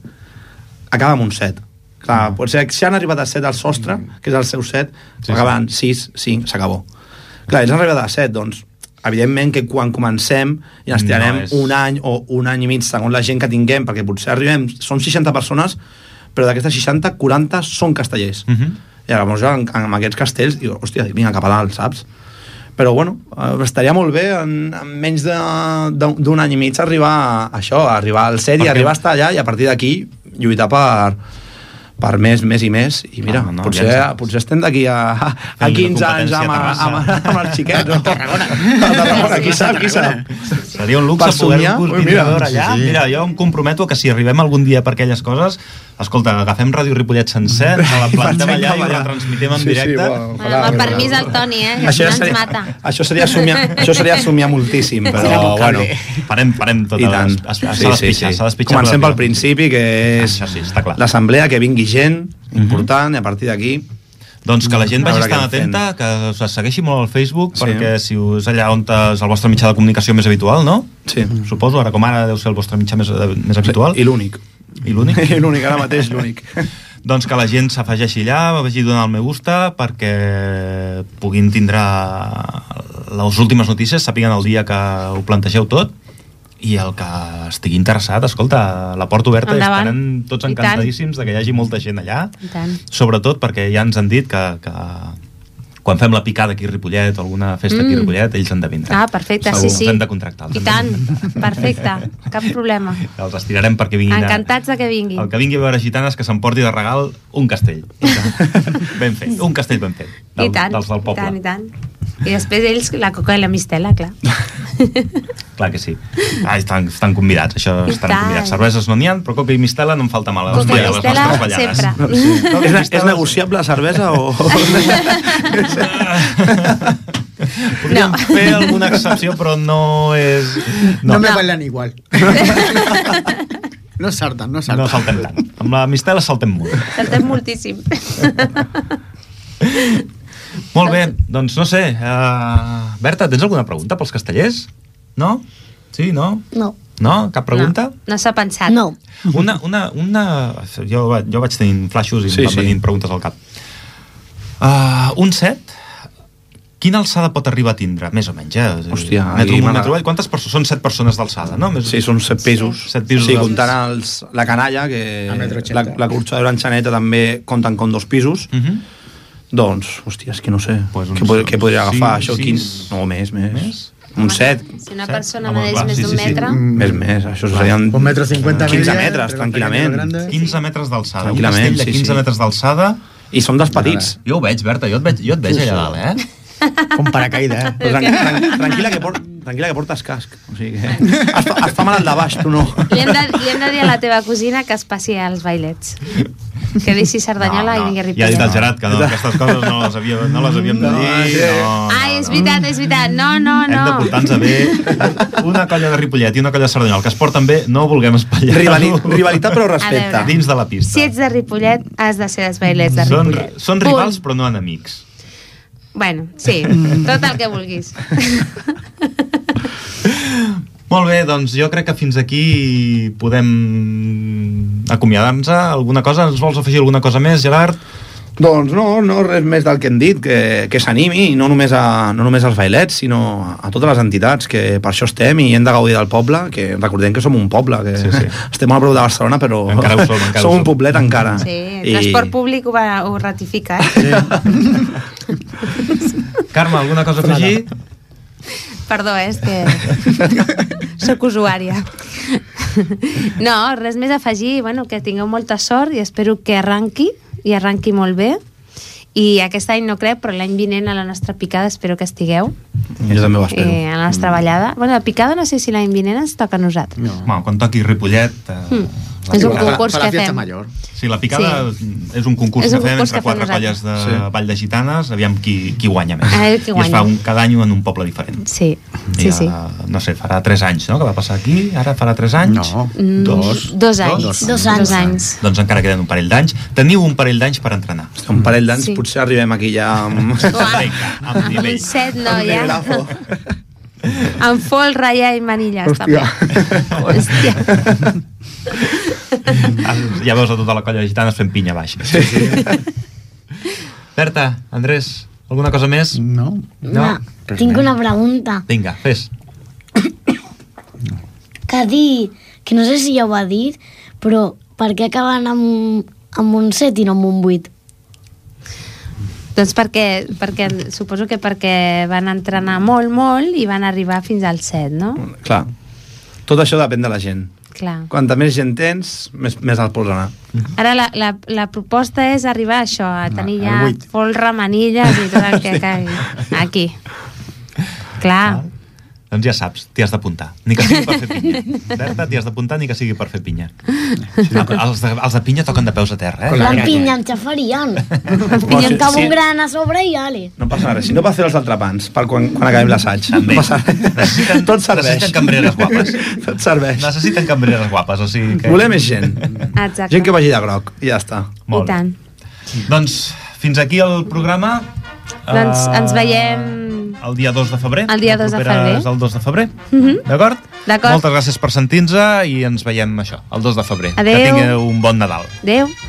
[SPEAKER 7] acaba amb un 7. Clar, potser si han arribat a 7 al sostre, que és el seu 7,
[SPEAKER 1] Mm. Sí,
[SPEAKER 7] sí, acaben 6, 5, s'acabó. Clar, ells han arribat a 7, doncs, evidentment que quan comencem ja ens
[SPEAKER 1] No,
[SPEAKER 7] tirarem
[SPEAKER 1] és-
[SPEAKER 7] un any o un any i mig segons la gent que tinguem, perquè potser arribem, són 60 persones, però d'aquestes 60, 40 són castellers.
[SPEAKER 1] Uh -huh.
[SPEAKER 7] I llavors en, en aquests castells, diu, hòstia, vinga, cap a dalt, saps? Però, bueno, eh, estaria molt bé en, en menys de- d'un d'un any i mig arribar a això, a arribar al set i
[SPEAKER 1] Perquè-
[SPEAKER 7] arribar a estar allà i a partir d'aquí lluitar per, per més, més i més. I mira,
[SPEAKER 1] Ah,
[SPEAKER 7] ah,
[SPEAKER 1] no,
[SPEAKER 7] no, potser,
[SPEAKER 1] ja ens-
[SPEAKER 7] potser estem d'aquí a, a, a
[SPEAKER 1] Fent
[SPEAKER 7] 15 anys
[SPEAKER 1] competència
[SPEAKER 7] amb,
[SPEAKER 1] a Terrassa.
[SPEAKER 7] amb, amb, amb els xiquets. No? A Tarragona. A Tarragona, qui sap, qui sap.
[SPEAKER 1] Seria un luxe
[SPEAKER 7] Per
[SPEAKER 1] poder
[SPEAKER 7] somiar? Ui,
[SPEAKER 1] coordinar
[SPEAKER 7] mira,
[SPEAKER 1] veure allà. Sí,
[SPEAKER 3] sí,
[SPEAKER 1] sí.
[SPEAKER 3] sí.
[SPEAKER 1] Mira, jo em comprometo que si arribem algun dia per aquelles coses, escolta, agafem Ràdio Ripollet sencer, ens la plantem
[SPEAKER 7] Mm. pensem
[SPEAKER 1] allà i
[SPEAKER 7] cap
[SPEAKER 1] la
[SPEAKER 7] allà.
[SPEAKER 1] retransmitem en
[SPEAKER 7] Sí, sí,
[SPEAKER 1] directe.
[SPEAKER 7] uau.
[SPEAKER 6] Bueno, amb el permís del Toni, eh? Que si
[SPEAKER 7] Això,
[SPEAKER 6] no
[SPEAKER 7] ja
[SPEAKER 6] ens
[SPEAKER 7] seria,
[SPEAKER 6] mata.
[SPEAKER 7] això seria somiar, això seria somiar moltíssim, però bueno,
[SPEAKER 1] Parem, parem tot.
[SPEAKER 7] eh? I tant.
[SPEAKER 1] S'ha d'espitxar, s'ha d'espitxar.
[SPEAKER 7] Comencem pel
[SPEAKER 1] relativament.
[SPEAKER 7] principi, que és
[SPEAKER 1] Això sí, està clar. Mhm.
[SPEAKER 7] l'assemblea, que vingui gent important, i a partir d'aquí...
[SPEAKER 1] Doncs que la gent
[SPEAKER 7] A
[SPEAKER 1] vagi
[SPEAKER 7] veure
[SPEAKER 1] estant
[SPEAKER 7] què en fem.
[SPEAKER 1] atenta, que us segueixi molt al Facebook,
[SPEAKER 7] Sí.
[SPEAKER 1] perquè si us allà on és el vostre mitjà de comunicació més habitual, no?
[SPEAKER 7] Sí.
[SPEAKER 1] Suposo, ara com ara deu ser el vostre mitjà més, eh, més habitual.
[SPEAKER 7] Mm. I l'únic.
[SPEAKER 1] I l'únic.
[SPEAKER 7] I l'únic, ara mateix l'únic.
[SPEAKER 1] doncs que la gent s'afegeixi allà, vagi donant el me gusta, perquè puguin tindre les últimes notícies, sàpiguen el dia que ho plantegeu tot, i el que estigui interessat, escolta, la porta oberta i
[SPEAKER 6] Endavant.
[SPEAKER 1] estarem tots
[SPEAKER 6] I tant.
[SPEAKER 1] encantadíssims de que hi hagi molta gent allà
[SPEAKER 6] I tant.
[SPEAKER 1] sobretot perquè ja ens han dit que, que quan fem la picada aquí a Ripollet o alguna festa aquí a
[SPEAKER 6] Mm.
[SPEAKER 1] Ripollet, ells endevindran.
[SPEAKER 6] Ah, perfecte,
[SPEAKER 1] Segur,
[SPEAKER 6] sí, sí.
[SPEAKER 1] Els hem de contractar. els
[SPEAKER 6] I
[SPEAKER 1] hem de
[SPEAKER 6] tant,
[SPEAKER 1] contractar.
[SPEAKER 6] perfecte, cap problema.
[SPEAKER 1] Els estirarem perquè vinguin. a-
[SPEAKER 6] Encantats de que vinguin.
[SPEAKER 1] El que vingui a veure gitanes que s'emporti de regal un castell. ben fet, un castell ben fet. Del,
[SPEAKER 6] I tant,
[SPEAKER 1] dels del
[SPEAKER 6] i
[SPEAKER 1] poble.
[SPEAKER 6] tant, i tant. I després ells, la coca i la mistela, clar.
[SPEAKER 1] Clar que sí. Ah, estan, estan convidats, això
[SPEAKER 6] I
[SPEAKER 1] estan
[SPEAKER 6] tant.
[SPEAKER 1] convidats. Cerveses no n'hi ha, però coca i mistela no en falta mal. a les
[SPEAKER 6] Coca i
[SPEAKER 1] ballades, a les
[SPEAKER 6] mistela,
[SPEAKER 1] nostres ballades.
[SPEAKER 6] sempre. Mm-hmm.
[SPEAKER 7] és, ne- és negociable la cervesa o...
[SPEAKER 1] Podríem
[SPEAKER 6] No.
[SPEAKER 1] fer alguna excepció, però no és...
[SPEAKER 3] No, me
[SPEAKER 6] No.
[SPEAKER 3] bailan igual. no sardan, no sardan.
[SPEAKER 1] No saltem tant. Amb la mistela saltem molt.
[SPEAKER 6] Saltem moltíssim.
[SPEAKER 1] Molt bé, doncs no sé. Uh, Berta, tens alguna pregunta pels castellers? No? Sí, no?
[SPEAKER 2] No.
[SPEAKER 1] No? Cap pregunta?
[SPEAKER 6] No, no s'ha pensat.
[SPEAKER 2] No.
[SPEAKER 1] Una, una, una... Jo, va- jo vaig tenint flaixos i sí,
[SPEAKER 7] Sí,
[SPEAKER 1] em van
[SPEAKER 7] sí.
[SPEAKER 1] Ah, venint preguntes al cap. Uh, un set Quina alçada pot arribar a tindre, més o menys? Eh?
[SPEAKER 7] Hòstia,
[SPEAKER 1] metro,
[SPEAKER 7] aquí
[SPEAKER 1] amunt,
[SPEAKER 7] m'ha-
[SPEAKER 1] metro avall. Quantes persones? Són set persones d'alçada, no? Més...
[SPEAKER 7] Sí, són set pisos.
[SPEAKER 1] Set pisos
[SPEAKER 7] Sí,
[SPEAKER 1] d'alçada.
[SPEAKER 7] comptant els, la canalla, que
[SPEAKER 3] A metro
[SPEAKER 7] la,
[SPEAKER 3] ochenta.
[SPEAKER 7] la corxa de l'enxaneta també compten com dos pisos.
[SPEAKER 1] Uh -huh.
[SPEAKER 7] Doncs, hòstia, és que no sé.
[SPEAKER 1] Pues
[SPEAKER 7] Pues
[SPEAKER 1] uns
[SPEAKER 7] què, pod- què podria
[SPEAKER 1] cinc,
[SPEAKER 7] agafar, això?
[SPEAKER 1] sis.
[SPEAKER 7] Quin... No, més, més.
[SPEAKER 1] Més?
[SPEAKER 7] Un set.
[SPEAKER 6] Si una
[SPEAKER 1] Set?
[SPEAKER 6] persona
[SPEAKER 1] Home,
[SPEAKER 6] medeix
[SPEAKER 1] clar,
[SPEAKER 6] més
[SPEAKER 1] sí,
[SPEAKER 6] d'un
[SPEAKER 1] sí, Mm. sí.
[SPEAKER 6] metre...
[SPEAKER 7] Més, més. Això serien...
[SPEAKER 3] Un metro cinquanta
[SPEAKER 7] 15
[SPEAKER 3] media,
[SPEAKER 7] metres,
[SPEAKER 3] entre
[SPEAKER 7] tranquil·lament.
[SPEAKER 3] la petita i la gran.
[SPEAKER 1] 15 metres d'alçada. Un
[SPEAKER 7] Tranquil·lament,
[SPEAKER 1] castell de
[SPEAKER 7] sí,
[SPEAKER 1] 15
[SPEAKER 7] sí.
[SPEAKER 1] metres d'alçada.
[SPEAKER 7] I són dels petits.
[SPEAKER 1] Jo ho veig, Berta, jo et veig, jo et veig allà dalt, eh?
[SPEAKER 3] Com paracaida, eh?
[SPEAKER 7] Però tran tran tranquil·la, que por tranquil·la que portes casc. O sigui que... Es fa, es fa mal al de baix, tu no.
[SPEAKER 6] Li hem, de, li hem de dir a la teva cosina que es passi als bailets. Que deixi Cerdanyola i vingui
[SPEAKER 1] Ja ha
[SPEAKER 6] a
[SPEAKER 1] dit el
[SPEAKER 6] Ripollet.
[SPEAKER 1] Gerard que no, aquestes coses no les, havia, no les havíem de dir. No, no,
[SPEAKER 6] Ai, Ah, és
[SPEAKER 1] no.
[SPEAKER 6] veritat, és veritat. No, no,
[SPEAKER 1] Hem de
[SPEAKER 6] no.
[SPEAKER 1] portar-nos bé una colla de Ripollet i una colla de Cerdanyola, que es porten bé, no vulguem espatllar
[SPEAKER 7] Rivali rivalitat però respecte.
[SPEAKER 6] A veure.
[SPEAKER 1] dins de la pista.
[SPEAKER 6] Si ets de Ripollet, has de ser dels bailets de
[SPEAKER 1] són,
[SPEAKER 6] Ripollet.
[SPEAKER 1] són
[SPEAKER 6] Punt.
[SPEAKER 1] rivals però Mm. no enemics.
[SPEAKER 6] Bueno, sí, tot el que vulguis.
[SPEAKER 1] Molt bé, doncs jo crec que fins aquí podem acomiadar-nos. Alguna cosa? Ens vols afegir alguna cosa més, Gerard?
[SPEAKER 7] Doncs no, no res més del que hem dit, que, que s'animi, i no només, a, no només als bailets, sinó a, a totes les entitats, que per això estem i hem de gaudir del poble, que recordem que som un poble, que
[SPEAKER 1] Sí,
[SPEAKER 7] sí,
[SPEAKER 1] sí.
[SPEAKER 7] sí. estem a prop de Barcelona, però
[SPEAKER 1] Encara ho som, encara ho
[SPEAKER 7] som
[SPEAKER 1] som.
[SPEAKER 7] un poblet encara.
[SPEAKER 1] Ah.
[SPEAKER 6] Sí, el transport públic ho, va, ho ratifica, eh?
[SPEAKER 1] Carme, alguna cosa a afegir?
[SPEAKER 6] Perdó, eh, és que sóc usuària. No, res més a afegir. Bueno, que tingueu molta sort i espero que arranqui, i arranqui molt bé. I aquest any no crec, però l'any vinent a la nostra picada espero que estigueu,
[SPEAKER 7] Jo també ho espero.
[SPEAKER 6] eh, a la nostra ballada. Bueno, la picada no sé si l'any vinent ens toca a nosaltres.
[SPEAKER 1] No. Bueno, quan toqui Ripollet... Eh,
[SPEAKER 6] Mm.
[SPEAKER 1] la
[SPEAKER 6] És un
[SPEAKER 1] picada-
[SPEAKER 6] concurs
[SPEAKER 5] Fa la
[SPEAKER 6] que
[SPEAKER 5] fiesta
[SPEAKER 6] fem.
[SPEAKER 5] mayor.
[SPEAKER 1] Sí, la picada sí. és un concurs
[SPEAKER 6] És
[SPEAKER 1] que
[SPEAKER 6] un
[SPEAKER 1] fem
[SPEAKER 6] concurs
[SPEAKER 1] entre
[SPEAKER 6] que fem
[SPEAKER 1] quatre colles
[SPEAKER 6] nosaltres.
[SPEAKER 1] de sí.
[SPEAKER 7] Sí.
[SPEAKER 1] Vall de Gitanes, aviam qui, qui guanya més.
[SPEAKER 6] A veure
[SPEAKER 1] I
[SPEAKER 6] qui
[SPEAKER 1] es
[SPEAKER 6] guanya.
[SPEAKER 1] fa un, cada any en un poble diferent.
[SPEAKER 6] Sí,
[SPEAKER 1] I
[SPEAKER 6] sí, sí.
[SPEAKER 1] No sé, farà 3 anys, no?, que va passar aquí. Ara farà 3 anys.
[SPEAKER 5] No.
[SPEAKER 6] Mm,
[SPEAKER 1] Dos.
[SPEAKER 6] Dos anys.
[SPEAKER 2] Dos anys.
[SPEAKER 6] Dos anys.
[SPEAKER 1] Doncs encara queden un parell d'anys. Teniu un parell d'anys per entrenar.
[SPEAKER 7] Un parell d'anys
[SPEAKER 6] Sí.
[SPEAKER 7] sí. potser arribem aquí ja amb...
[SPEAKER 6] Uah.
[SPEAKER 1] Vinga, amb nivell.
[SPEAKER 6] Amb set, no,
[SPEAKER 7] amb
[SPEAKER 6] ja.
[SPEAKER 7] nivellafo.
[SPEAKER 6] Amb fol, ratlla i manilles, Hòstia. també. Hòstia.
[SPEAKER 1] Ja veus a tota la colla de gitanes fent pinya baix. Sí, sí. Berta, Andrés, alguna cosa més?
[SPEAKER 5] No.
[SPEAKER 1] No?
[SPEAKER 2] Una, tinc una pregunta.
[SPEAKER 1] Vinga, fes.
[SPEAKER 2] Que dir, que no sé si ja ho va dir, però per què acaben amb, un- amb un 7 i no amb un 8?
[SPEAKER 6] doncs perquè, perquè, suposo que perquè van entrenar molt, molt i van arribar fins al set, no?
[SPEAKER 7] Clar, tot això depèn de la gent.
[SPEAKER 6] Clar.
[SPEAKER 7] Quanta més gent tens, més, més alt pots anar.
[SPEAKER 6] Ara la, la, la proposta és arribar a això, a tenir
[SPEAKER 5] al
[SPEAKER 6] ja
[SPEAKER 5] vuit.
[SPEAKER 6] folre, manilles i tot el que caigui. Aquí. Clar.
[SPEAKER 1] Doncs ja saps, t'hi has d'apuntar. Ni que sigui per fer pinya. Berta, t'hi has d'apuntar ni que sigui per fer pinya. Ah, però els, de, els de pinya toquen de peus a terra, eh?
[SPEAKER 5] Clar.
[SPEAKER 2] La
[SPEAKER 5] grana.
[SPEAKER 2] pinya em xafarien.
[SPEAKER 7] Bueno,
[SPEAKER 2] Em
[SPEAKER 7] sí,
[SPEAKER 2] cau
[SPEAKER 7] sí.
[SPEAKER 2] un gran a sobre i ale.
[SPEAKER 7] No passa res, si no va fer els altrapans per quan, quan acabem l'assaig. No passa res.
[SPEAKER 1] Necessiten-
[SPEAKER 7] Tot serveix.
[SPEAKER 1] necessiten cambreres guapes.
[SPEAKER 7] Tot serveix.
[SPEAKER 1] Necessiten cambreres guapes, o sigui que...
[SPEAKER 7] Voler més gent.
[SPEAKER 6] Exacte.
[SPEAKER 7] Gent que vagi de groc, i ja està.
[SPEAKER 6] I
[SPEAKER 1] Molt bé.
[SPEAKER 6] tant.
[SPEAKER 1] Doncs fins aquí el programa.
[SPEAKER 6] Doncs
[SPEAKER 1] Eh,
[SPEAKER 6] ens veiem
[SPEAKER 1] El dia 2 de febrer.
[SPEAKER 6] el dia
[SPEAKER 1] La
[SPEAKER 6] 2 de
[SPEAKER 1] propera
[SPEAKER 6] febrer. Mhm.
[SPEAKER 1] És el 2 de febrer. D'acord?
[SPEAKER 6] D'acord.
[SPEAKER 1] Moltes gràcies per sentir-nos i ens veiem això, el 2 de febrer.
[SPEAKER 6] Adeu.
[SPEAKER 1] Que tingueu un bon Nadal.
[SPEAKER 6] Adéu.